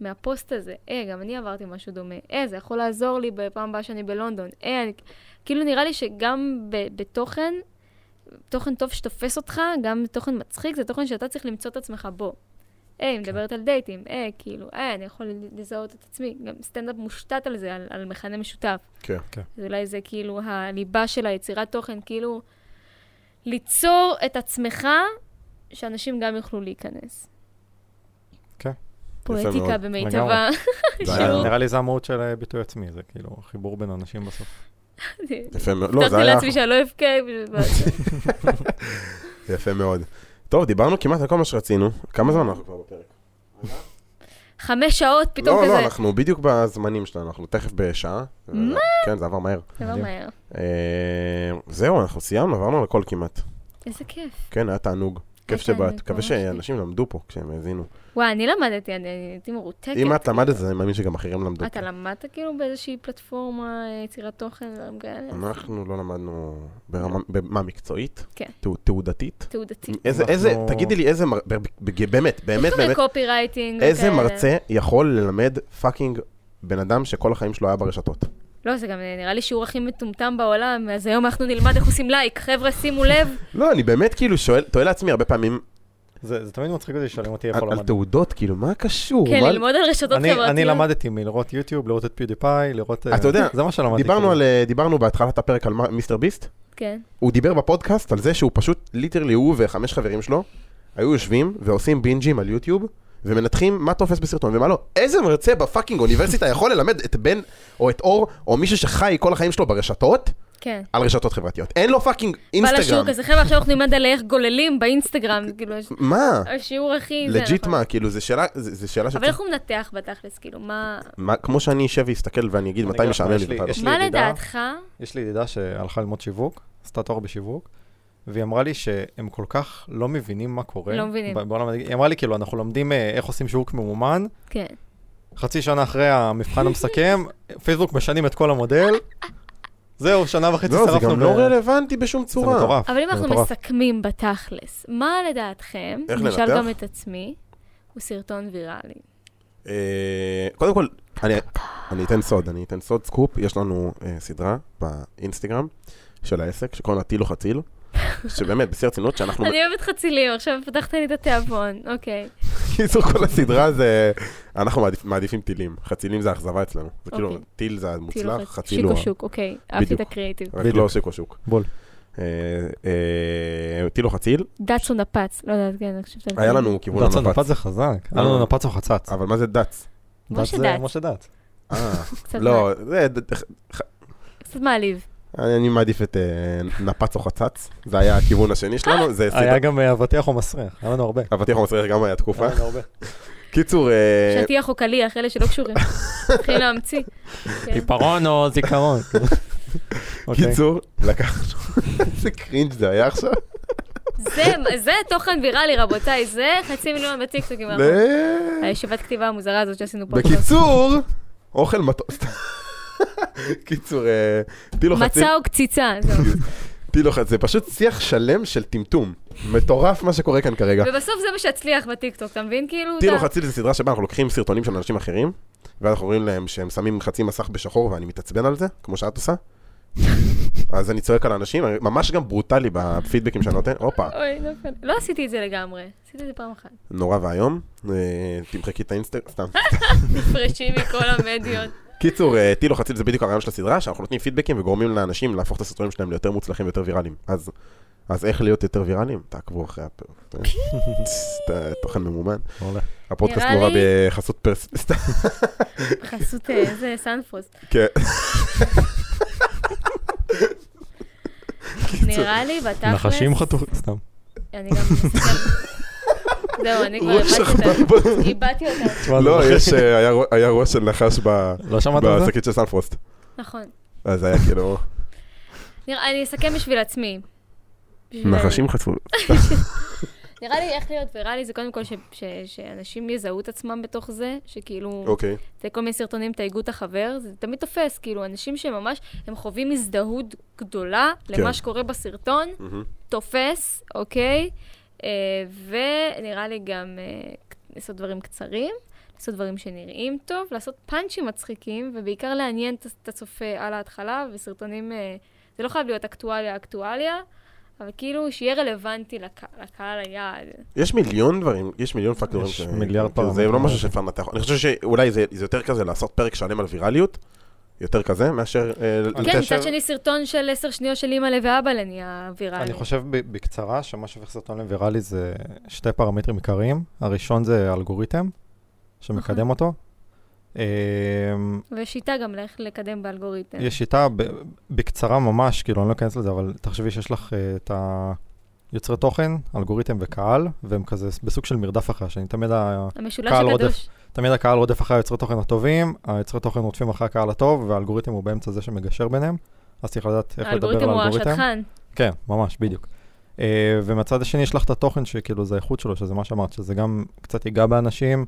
Speaker 1: מהפוסט הזה, אה, גם אני עברתי משהו דומה, אה, זה יכול לעזור לי בפעם הבאה שאני בלונדון, אה, אני... כאילו נראה לי שגם ב- בתוכן, תוכן טוב שתופס אותך, גם תוכן מצחיק, זה תוכן שאתה צריך למצוא את עצמך בו. היי,
Speaker 2: כן.
Speaker 1: היא מדברת על דייטים, היי, כאילו, היי, אני יכול לזהות את עצמי. גם סטנדאפ מושתת על זה, על, על מכנה משותף. *laughs*
Speaker 2: כן.
Speaker 1: אז אולי זה כאילו הליבה של היצירת תוכן, כאילו, ליצור את עצמך, שאנשים גם יוכלו להיכנס.
Speaker 3: כן.
Speaker 1: פואטיקה
Speaker 2: מאוד.
Speaker 1: במיטבה. *laughs*
Speaker 2: זה
Speaker 1: שהוא-
Speaker 2: היה-
Speaker 3: נראה לי זה המהות של אה, ביטוי עצמי, זה כאילו החיבור בין אנשים בסוף.
Speaker 2: יפה מאוד. לא, זה
Speaker 1: הבטחתי
Speaker 2: היה...
Speaker 1: לעצמי שאני לא אבכה.
Speaker 2: *laughs* יפה מאוד. טוב, דיברנו כמעט על כל מה שרצינו. כמה זמן אנחנו כבר בפרק?
Speaker 1: חמש שעות פתאום
Speaker 2: לא,
Speaker 1: כזה.
Speaker 2: לא, אנחנו בדיוק בזמנים שלנו, אנחנו תכף בשעה.
Speaker 1: מה?
Speaker 2: כן, זה עבר מהר.
Speaker 1: זה לא
Speaker 3: מדהים.
Speaker 1: מהר.
Speaker 2: אה, זהו, אנחנו סיימנו, עברנו על הכל כמעט.
Speaker 1: איזה כיף.
Speaker 2: כן, היה תענוג. כיף
Speaker 1: תענוג,
Speaker 2: שבאת. מקווה
Speaker 1: ממש
Speaker 2: שאנשים למדו פה כשהם האזינו.
Speaker 1: וואי, אני למדתי, אני אני הייתי מרותקת.
Speaker 2: אם את למדת את זה, אני מאמין שגם אחרים למדו.
Speaker 1: כן. אתה למדת כאילו באיזושהי פלטפורמה, אה, יצירת תוכן, דברים כאלה?
Speaker 2: אנחנו לא למדנו ברמה, במה מקצועית?
Speaker 1: כן.
Speaker 2: תעו- תעודתית?
Speaker 1: תעודתי.
Speaker 2: איזה,
Speaker 3: אנחנו-
Speaker 2: איזה, תגידי לי איזה, מר- ב- ב- באמת, באמת,
Speaker 1: כל מיני
Speaker 2: באמת,
Speaker 1: קופי רייטינג.
Speaker 2: איזה
Speaker 1: וכאלה.
Speaker 2: מרצה יכול ללמד פאקינג בן אדם שכל החיים שלו היה ברשתות?
Speaker 1: לא, זה גם נראה לי שיעור הכי מטומטם בעולם, אז היום אנחנו נלמד איך עושים לייק. חבר'ה, שימו
Speaker 2: *laughs*
Speaker 1: לב.
Speaker 2: לא, אני באמת כאילו שואל, תוהה לעצמי הרבה פעמים
Speaker 3: זה זה תמיד מצחיק אותי ששואלים אותי איפה
Speaker 2: על על
Speaker 3: למדתי.
Speaker 2: תעודות, כאילו, מה קשור?
Speaker 1: כן,
Speaker 2: מה-
Speaker 1: ללמוד על רשתות
Speaker 3: אני-
Speaker 1: חברתיות.
Speaker 3: אני למדתי מלראות יוטיוב, לראות את פיודיפיי, לראות... אה,
Speaker 2: אתה יודע,
Speaker 3: זה מה שלמדתי.
Speaker 2: דיברנו
Speaker 3: כאילו.
Speaker 2: על, אה, דיברנו בהתחלת הפרק על מ- מיסטר ביסט,
Speaker 1: כן.
Speaker 2: הוא דיבר בפודקאסט על זה שהוא פשוט, ליטרלי הוא וחמש חברים שלו, היו יושבים ועושים בינג'ים על יוטיוב, ומנתחים מה תופס בסרטון ומה לא. איזה מרצה בפאקינג אוניברסיטה יכול ללמד את בן, או את אור, או מישהו שחי כל החיים שלו ברשתות,
Speaker 1: כן.
Speaker 2: על רשתות חברתיות. אין לו פאקינג
Speaker 1: בא לשיעור
Speaker 2: אינסטגרם.
Speaker 1: כזה, חבר'ה, עכשיו אנחנו נלמד על איך גוללים
Speaker 2: *laughs*
Speaker 1: באינסטגרם. כאילו, הש-
Speaker 2: מה?
Speaker 1: השיעור הכי... זה,
Speaker 2: לג'יט
Speaker 1: נכון.
Speaker 2: מה? כאילו, זו שאלה, זה- זה שאלה
Speaker 1: אבל
Speaker 2: שצריך...
Speaker 1: איך הוא מנתח בתכלס? כאילו, מה...
Speaker 2: מה- כמו שאני אשב ואסתכל ואני אגיד
Speaker 3: אני
Speaker 2: מתי
Speaker 3: אגיד לך,
Speaker 2: משעמם
Speaker 3: יש
Speaker 2: לי
Speaker 3: לי-
Speaker 2: מתי
Speaker 3: יש
Speaker 2: לא.
Speaker 3: לי-
Speaker 1: מה
Speaker 3: ידידה.
Speaker 1: לדעתך?
Speaker 3: יש לי ידידה שהלכה ללמוד שיווק, עשתה תואר בשיווק, והיא אמרה לי שהם כל כך לא מבינים מה קורה.
Speaker 1: לא מבינים.
Speaker 3: ב- בעולם הדיג- היא אמרה לי, כאילו, אנחנו לומדים אה, איך עושים שיווק ממומן,
Speaker 1: כן.
Speaker 3: חצי שנה אחרי המבחן המסכם, פייסבוק משנים את כל המודל, זהו, שנה וחצי
Speaker 2: לא,
Speaker 3: שרפנו.
Speaker 2: זה גם
Speaker 3: ב-
Speaker 2: לא רלוונטי בשום
Speaker 3: זה
Speaker 2: צורה.
Speaker 3: מטורף.
Speaker 1: אבל אם
Speaker 3: זה
Speaker 1: אנחנו
Speaker 3: מטורף.
Speaker 1: מסכמים בתכלס, מה לדעתכם,
Speaker 2: איך
Speaker 1: נשאל
Speaker 2: לנתח?
Speaker 1: גם את עצמי, הוא סרטון ויראלי?
Speaker 2: אה, קודם כל, אני, אני אתן סוד, אני אתן סוד סקופ, יש לנו אה, סדרה באינסטגרם של העסק, שקוראים לה טילו
Speaker 1: *laughs*
Speaker 2: חציל, שבאמת, בשיא הרצינות, שאנחנו...
Speaker 1: אני אוהבת חצילים, עכשיו פתחת לי את התיאבון, אוקיי.
Speaker 2: *laughs* קיצור, כל הסדרה זה... אנחנו מעדיפ, מעדיפים טילים, חצילים זה אכזבה אצלנו. זה כאילו,
Speaker 1: אוקיי.
Speaker 2: טיל זה
Speaker 1: כאילו,
Speaker 2: המוצלח, חציל
Speaker 1: שיקו
Speaker 2: הוא...
Speaker 1: שוק, אוקיי. אהבתי את
Speaker 2: בדיוק.
Speaker 1: הקריאיטיב.
Speaker 2: ה- רק
Speaker 3: בדיוק.
Speaker 2: לא שיקו שוק.
Speaker 3: בול.
Speaker 2: אה, אה, טילו חציל,
Speaker 1: דאצון הפץ, לא יודעת, כן, אני חושבת... על זה.
Speaker 2: היה לנו כיוון
Speaker 3: דץ הנפץ
Speaker 2: הנפץ,
Speaker 3: זה חזק.
Speaker 2: אה.
Speaker 3: היה לנו נפץ או חצץ.
Speaker 2: אבל מה זה דץ?
Speaker 1: משה
Speaker 3: דץ זה
Speaker 1: דץ.
Speaker 3: משה דץ.
Speaker 2: אה,
Speaker 1: קצת מעליב.
Speaker 2: *laughs* לא, זה... ד-
Speaker 1: קצת מעליב.
Speaker 2: אני אני מעדיף את אה, נפץ או חצץ, זה היה הכיוון השני שלנו, זה סדרה...
Speaker 3: היה גם אה, אבטיח או מסריח, היה לנו הרבה.
Speaker 2: אבטיח המסריח גם היה תקופה.
Speaker 3: היה לנו הרבה.
Speaker 2: קיצור, אה,
Speaker 1: שטיח או קליח, אלה שלא
Speaker 2: *laughs*
Speaker 1: קשורים. מתחילים להמציא. כן.
Speaker 3: עיפרון או זיכרון. *laughs* אוקיי.
Speaker 2: קיצור, לקחנו, *laughs* איזה קרינג' זה היה *laughs* עכשיו.
Speaker 1: זה- זה תוכן ויראלי, רבותיי, זה חצי מיליון בטיקטוקים.
Speaker 2: ל-
Speaker 1: הישיבת כתיבה המוזרה הזאת שעשינו פה.
Speaker 2: בקיצור, אוכל מתוק. סתם. *laughs* קיצור, אה, טיל לוחצים,
Speaker 1: מצה או קציצה, זהו.
Speaker 2: טיל לוחצים, זה פשוט שיח שלם של טמטום. מטורף מה שקורה כאן כרגע.
Speaker 1: ובסוף זה מה שאצליח בטיקטוק, אתה מבין? כאילו,
Speaker 2: טיל או
Speaker 1: אתה-
Speaker 2: חציל זה סדרה שבה אנחנו לוקחים סרטונים של אנשים אחרים, ואז אנחנו אומרים להם שהם שמים חצי מסך בשחור ואני מתעצבן על זה, כמו שאת
Speaker 1: *laughs*
Speaker 2: עושה. אז אני צועק על האנשים, אני ממש גם ברוטלי בפידבקים שאני נותן, הופה,
Speaker 1: אוי, נפל. לא עשיתי את זה לגמרי, עשיתי את זה פעם אחת.
Speaker 2: נורא ואיום, אה, תמחקי את האינסטגרם,
Speaker 1: *laughs*
Speaker 2: סתם.
Speaker 1: נפרשים מכל המדיות.
Speaker 2: קיצור, אה, טיל או חציל זה בדיוק הרעיון של הסדרה, שאנחנו נותנים פידבקים וגורמים לאנשים להפוך את הסרטונים שלהם ליותר מוצלחים ויותר ויראליים. אז, אז איך להיות יותר ויראליים? תעקבו אחרי הפרק. *laughs* תוכן ממומן.
Speaker 3: מעולה.
Speaker 2: הפודקאסט
Speaker 1: נראה
Speaker 2: נורא
Speaker 1: לי-
Speaker 2: בחסות פרס... סתם,
Speaker 1: חסות אה, איזה סנפוס.
Speaker 2: כן.
Speaker 1: נראה לי בתכלס...
Speaker 3: נחשים חתוכים, סתם.
Speaker 1: אני גם מסתכלת... זהו, אני
Speaker 2: *laughs*
Speaker 1: כבר
Speaker 2: ראש
Speaker 1: איבדתי אותה.
Speaker 2: החבא.
Speaker 1: איבדתי אותה.
Speaker 3: תשמע,
Speaker 2: לא,
Speaker 3: זה-
Speaker 2: יש, אה, היה רו- היה ראש של נחש ב-
Speaker 3: לא אוקיי. שמעת על זה?
Speaker 2: בשקית של סנפרוסט.
Speaker 1: נכון.
Speaker 2: אז היה כאילו...
Speaker 1: נראה, אני אסכם בשביל עצמי. בשביל-
Speaker 2: נחשים חצו...
Speaker 1: נראה לי איך להיות ויראלי זה קודם כל ש- ש- שאנשים יזהו את עצמם בתוך זה, שכאילו...
Speaker 2: אוקיי.
Speaker 1: זה כל מיני סרטונים, תייגו את החבר, זה תמיד תופס, כאילו, אנשים שממש, הם חווים הזדהות גדולה למה
Speaker 2: כן.
Speaker 1: שקורה בסרטון,
Speaker 2: מהמם.
Speaker 1: תופס, אוקיי? אה, ונראה לי גם אה, לעשות דברים קצרים, לעשות דברים שנראים טוב, לעשות פאנצ'ים מצחיקים, ובעיקר לעניין את- את הצופה על ההתחלה, וסרטונים, אה, זה לא חייב להיות אקטואליה אקטואליה, אבל כאילו, שיהיה רלוונטי לק- לקהל היעד.
Speaker 2: יש מיליון דברים, יש מיליון פקטורים.
Speaker 3: יש
Speaker 2: ש-
Speaker 3: מיליארד
Speaker 2: כאילו, זה
Speaker 3: פרמטרים.
Speaker 2: לא משהו שאפשר לנתח. אני חושב שאולי זה זה יותר כזה לעשות פרק שלם על ויראליות, יותר כזה, מאשר... אה,
Speaker 1: כן,
Speaker 2: לתאר-
Speaker 1: מצד שני, סרטון של עשר שניות של אימא ואבאלה נהיה ויראלי.
Speaker 3: אני חושב ב- בקצרה שמה שהופך סרטון לוויראלי זה שתי פרמטרים עיקריים. הראשון זה אלגוריתם, שמקדם
Speaker 1: אוקיי.
Speaker 3: אותו. אמ,
Speaker 1: ושיטה גם לאיך לקדם באלגוריתם.
Speaker 3: יש שיטה, ב- בקצרה ממש, כאילו, אני לא אכנס לזה, אבל תחשבי שיש לך אה, את היוצרי תוכן, אלגוריתם וקהל, והם כזה בסוג של מרדף אחרי השני. תמיד, ה-
Speaker 1: המשולש
Speaker 3: קהל
Speaker 1: הגדוש.
Speaker 3: תמיד הקהל רודף אחרי היוצרי תוכן הטובים, היוצרי תוכן רודפים אחרי הקהל הטוב, והאלגוריתם הוא באמצע זה שמגשר ביניהם. אז צריך לדעת איך לדבר על
Speaker 1: האלגוריתם
Speaker 3: אלגוריתם.
Speaker 1: הוא השטחן.
Speaker 3: כן, ממש, בדיוק. אה, ומצד השני יש לך את התוכן שכאילו זה האיכות שלו, שזה מה שאמרת, שזה גם קצת ייגע באנשים,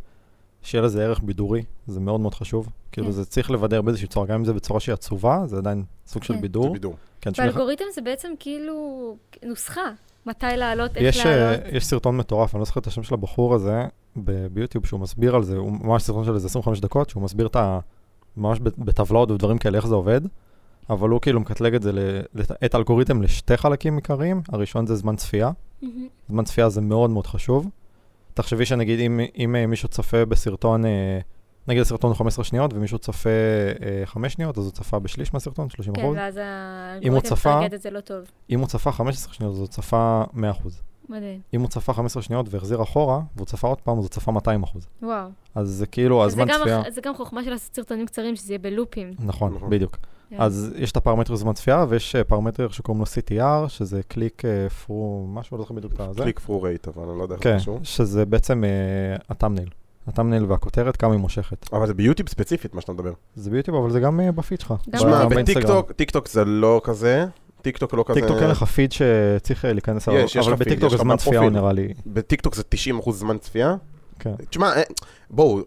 Speaker 3: שיהיה לזה ערך בידורי, זה מאוד מאוד חשוב. כאילו
Speaker 1: כן.
Speaker 3: זה צריך לבדר באיזושהי צורה, גם אם זה בצורה שהיא עצובה, זה עדיין סוג של
Speaker 1: כן.
Speaker 2: זה
Speaker 3: בידור.
Speaker 2: בידור.
Speaker 3: כן, שמי-
Speaker 1: באלגוריתם זה בעצם כאילו נוסחה. מתי לעלות, איך
Speaker 3: יש, אה,
Speaker 1: לעלות.
Speaker 3: יש סרטון מטורף, אני לא זוכר את השם של הבחור הזה ב- ביוטיוב, שהוא מסביר על זה, הוא ממש סרטון של איזה 25 דקות, שהוא מסביר את ה... ממש ב- בטבלאות ובדברים כאלה, איך זה עובד, אבל הוא כאילו מקטלג את זה, ל- לת- את האלגוריתם לשתי חלקים עיקריים, הראשון זה זמן צפייה,
Speaker 1: מהמם.
Speaker 3: זמן צפייה זה מאוד מאוד חשוב. תחשבי שנגיד אם, אם אה, מישהו צופה בסרטון, אה, נגיד הסרטון הוא 15 שניות ומישהו צופה 5 שניות, אז הוא צפה בשליש מהסרטון, 30
Speaker 1: כן,
Speaker 3: אחוז.
Speaker 1: ואז
Speaker 3: אם הוא
Speaker 1: האלגוריתם
Speaker 3: צפה-
Speaker 1: מטרגט את זה לא טוב.
Speaker 3: אם הוא צפה 15 שניות, אז הוא צפה 100 אחוז.
Speaker 1: מדהים.
Speaker 3: אם הוא צפה 15 שניות והחזיר אחורה, והוא צפה עוד פעם, אז הוא צפה 200 אחוז.
Speaker 1: וואו.
Speaker 3: אז זה כאילו
Speaker 1: זה
Speaker 3: הזמן
Speaker 1: גם
Speaker 3: צפייה.
Speaker 1: אח- זה גם חוכמה של לעשות סרטונים קצרים, שזה יהיה בלופים.
Speaker 3: נכון,
Speaker 2: נכון.
Speaker 3: בדיוק.
Speaker 1: כן.
Speaker 3: אז יש את הפרמטר זמן צפייה, ויש אה, פרמטר שקוראים לו CTR, שזה קליק אה, פרו, משהו, לא זוכר בדיוק את זה.
Speaker 2: קליק פרו רייט, אבל אני לא יודע איך זה
Speaker 3: כן,
Speaker 2: קשור.
Speaker 3: שזה בעצם אה, הטאמנייל. הטאמנייל והכותרת, כמה היא מושכת.
Speaker 2: אבל זה ביוטיוב ספציפית, מה שאתה מדבר.
Speaker 3: זה ביוטיוב, אבל זה גם אה, בפיד שלך.
Speaker 1: גם
Speaker 2: שמע,
Speaker 1: אה,
Speaker 3: כן. באינסטגרם.
Speaker 2: וטיקטוק, טיקטוק זה לא כזה, טיקטוק לא כזה...
Speaker 3: טיקטוק אין לך פיד שצריך אה, להיכנס אליו,
Speaker 2: יש, יש
Speaker 3: אבל
Speaker 2: לך פיד,
Speaker 3: בטיקטוק
Speaker 2: יש לך
Speaker 3: הזמן צפייה הוא
Speaker 2: בפרופיל.
Speaker 3: נראה לי,
Speaker 2: בטיקטוק זה 90% זמן צפייה.
Speaker 3: כן.
Speaker 2: תשמע, אה, בואו,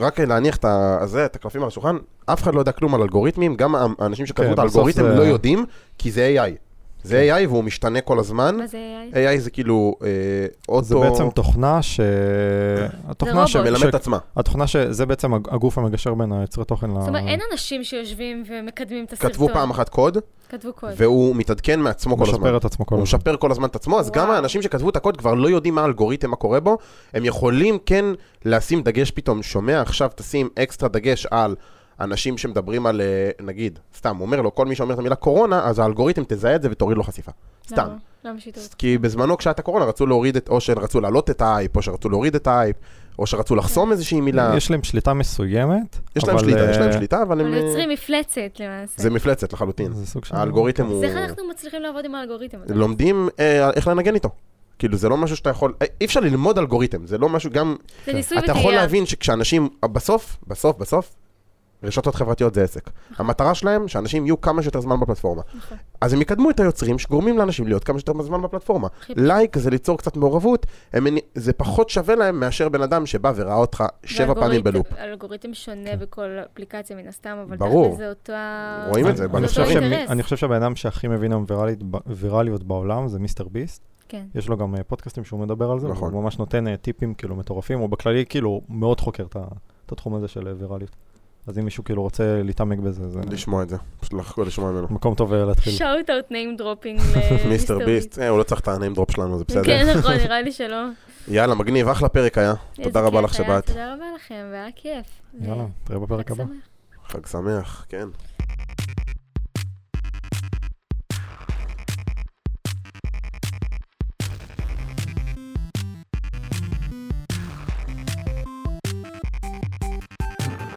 Speaker 2: רק להניח את ה- הזה, את הקלפים על השולחן, אף אחד לא יודע כלום על אלגוריתמים, גם ה- האנשים שכתבו
Speaker 3: כן,
Speaker 2: את
Speaker 3: בסוף
Speaker 2: האלגוריתם
Speaker 3: זה- כן.
Speaker 2: לא יודעים, כי זה AI. זה AI והוא משתנה כל הזמן.
Speaker 1: מה זה AI?
Speaker 2: AI זה כאילו אה, אוטו...
Speaker 3: זה בעצם תוכנה ש... התוכנה ש...
Speaker 1: רובוט.
Speaker 2: שמלמד
Speaker 3: ש-
Speaker 2: את עצמה.
Speaker 3: התוכנה שזה בעצם הג- הגוף המגשר בין היוצרי תוכן ל...
Speaker 1: זאת אומרת, אין אנשים שיושבים ומקדמים את הסרטון.
Speaker 2: כתבו פעם אחת קוד,
Speaker 1: כתבו קוד.
Speaker 2: והוא מתעדכן מעצמו כל הזמן.
Speaker 3: משפר את עצמו כל
Speaker 2: הוא
Speaker 3: הזמן.
Speaker 2: משפר כל הזמן את עצמו, אז גם
Speaker 1: וואו.
Speaker 2: האנשים שכתבו את הקוד כבר לא יודעים מה האלגוריתם, מה קורה בו, הם יכולים כן לשים דגש פתאום, שומע עכשיו תשים אקסטרה דגש על אנשים שמדברים על, אה, נגיד, סתם, הוא אומר לו, כל מי שאומר את המילה קורונה, אז האלגוריתם תזהה את זה ותוריד לו חשיפה. סתם.
Speaker 1: למה? למה שיטות?
Speaker 2: כי בזמנו כשהייתה קורונה רצו להוריד את, או שרצו להעלות את האייפ, או שרצו להוריד את האייפ, או
Speaker 1: כן.
Speaker 2: שרצו לחסום איזושהי מילה.
Speaker 3: יש להם שליטה מסוימת,
Speaker 2: יש להם
Speaker 3: אבל,
Speaker 2: שליטה, יש להם
Speaker 3: אה,
Speaker 2: שליטה, אבל הם...
Speaker 1: אבל
Speaker 2: אה,
Speaker 1: יוצרים מפלצת למעשה.
Speaker 2: זה מפלצת לחלוטין.
Speaker 3: זה סוג של...
Speaker 2: האלגוריתם הוא...
Speaker 1: אז איך אנחנו מצליחים לעבוד עם האלגוריתם הזה?
Speaker 2: לומדים אה, איך לנגן איתו. כאילו זה לא משהו שאתה יכול, אה, אי אפשר ללמוד אלגוריתם, זה לא משהו, גם
Speaker 1: זה ניסוי
Speaker 2: אתה יכול
Speaker 1: וטעייה.
Speaker 2: להבין שכשאנשים, בסוף, בסוף, בסוף, רשתות חברתיות זה עסק. המטרה שלהם, שאנשים יהיו כמה שיותר זמן בפלטפורמה.
Speaker 1: נכון.
Speaker 2: אז הם יקדמו את היוצרים שגורמים לאנשים להיות כמה שיותר זמן בפלטפורמה.
Speaker 1: הכי פשוט.
Speaker 2: לייק זה ליצור קצת מעורבות, הם, מני- זה פחות שווה להם מאשר בן אדם שבא וראה אותך שבע פעמים
Speaker 1: והאלגוריתם-
Speaker 2: בלופ. כן.
Speaker 1: האלגוריתם שונה בכל אפליקציה מן הסתם, אבל
Speaker 2: ברור.
Speaker 1: תכל'ס זה אותה...
Speaker 2: רואים את זה,
Speaker 3: אני
Speaker 2: אני
Speaker 3: חושב
Speaker 1: אותו
Speaker 2: חושב
Speaker 3: שמי-
Speaker 1: לא אינטרס.
Speaker 3: אני חושב שהבן אדם שהכי מבין היום ויראלית ב- ויראליות בעולם זה מיסטר ביסט.
Speaker 1: כן.
Speaker 3: יש לו גם אה, פודקאסטים שהוא מדבר על זה,
Speaker 2: נכון.
Speaker 3: הוא ממש נותן אה, טיפים כאילו מטורפים, הוא בכללי כאילו מאוד חוקר את ה- את התחום הזה של אה, ויראליות. אז אם מישהו כאילו רוצה להתעמק בזה, זה
Speaker 2: לשמוע את זה, פשוט לחכות לשמוע ממנו.
Speaker 3: מקום טוב אה, להתחיל.
Speaker 1: שאוט אאוט name dropping
Speaker 2: *laughs* מיסטר
Speaker 1: למיסטר
Speaker 2: ביסט, אה, הוא לא צריך את הניים דרופ שלנו, זה בסדר.
Speaker 1: כן, נכון, נראה לי שלא.
Speaker 2: יאללה, מגניב, אחלה פרק היה.
Speaker 1: איזה
Speaker 2: תודה רבה
Speaker 1: כיף
Speaker 2: לך
Speaker 1: היה,
Speaker 2: שבאת.
Speaker 1: תודה רבה לכם, והיה כיף.
Speaker 3: יאללה,
Speaker 1: ו-
Speaker 3: תראה
Speaker 1: חג
Speaker 3: בפרק הבא.
Speaker 1: שמח.
Speaker 2: חג שמח, כן.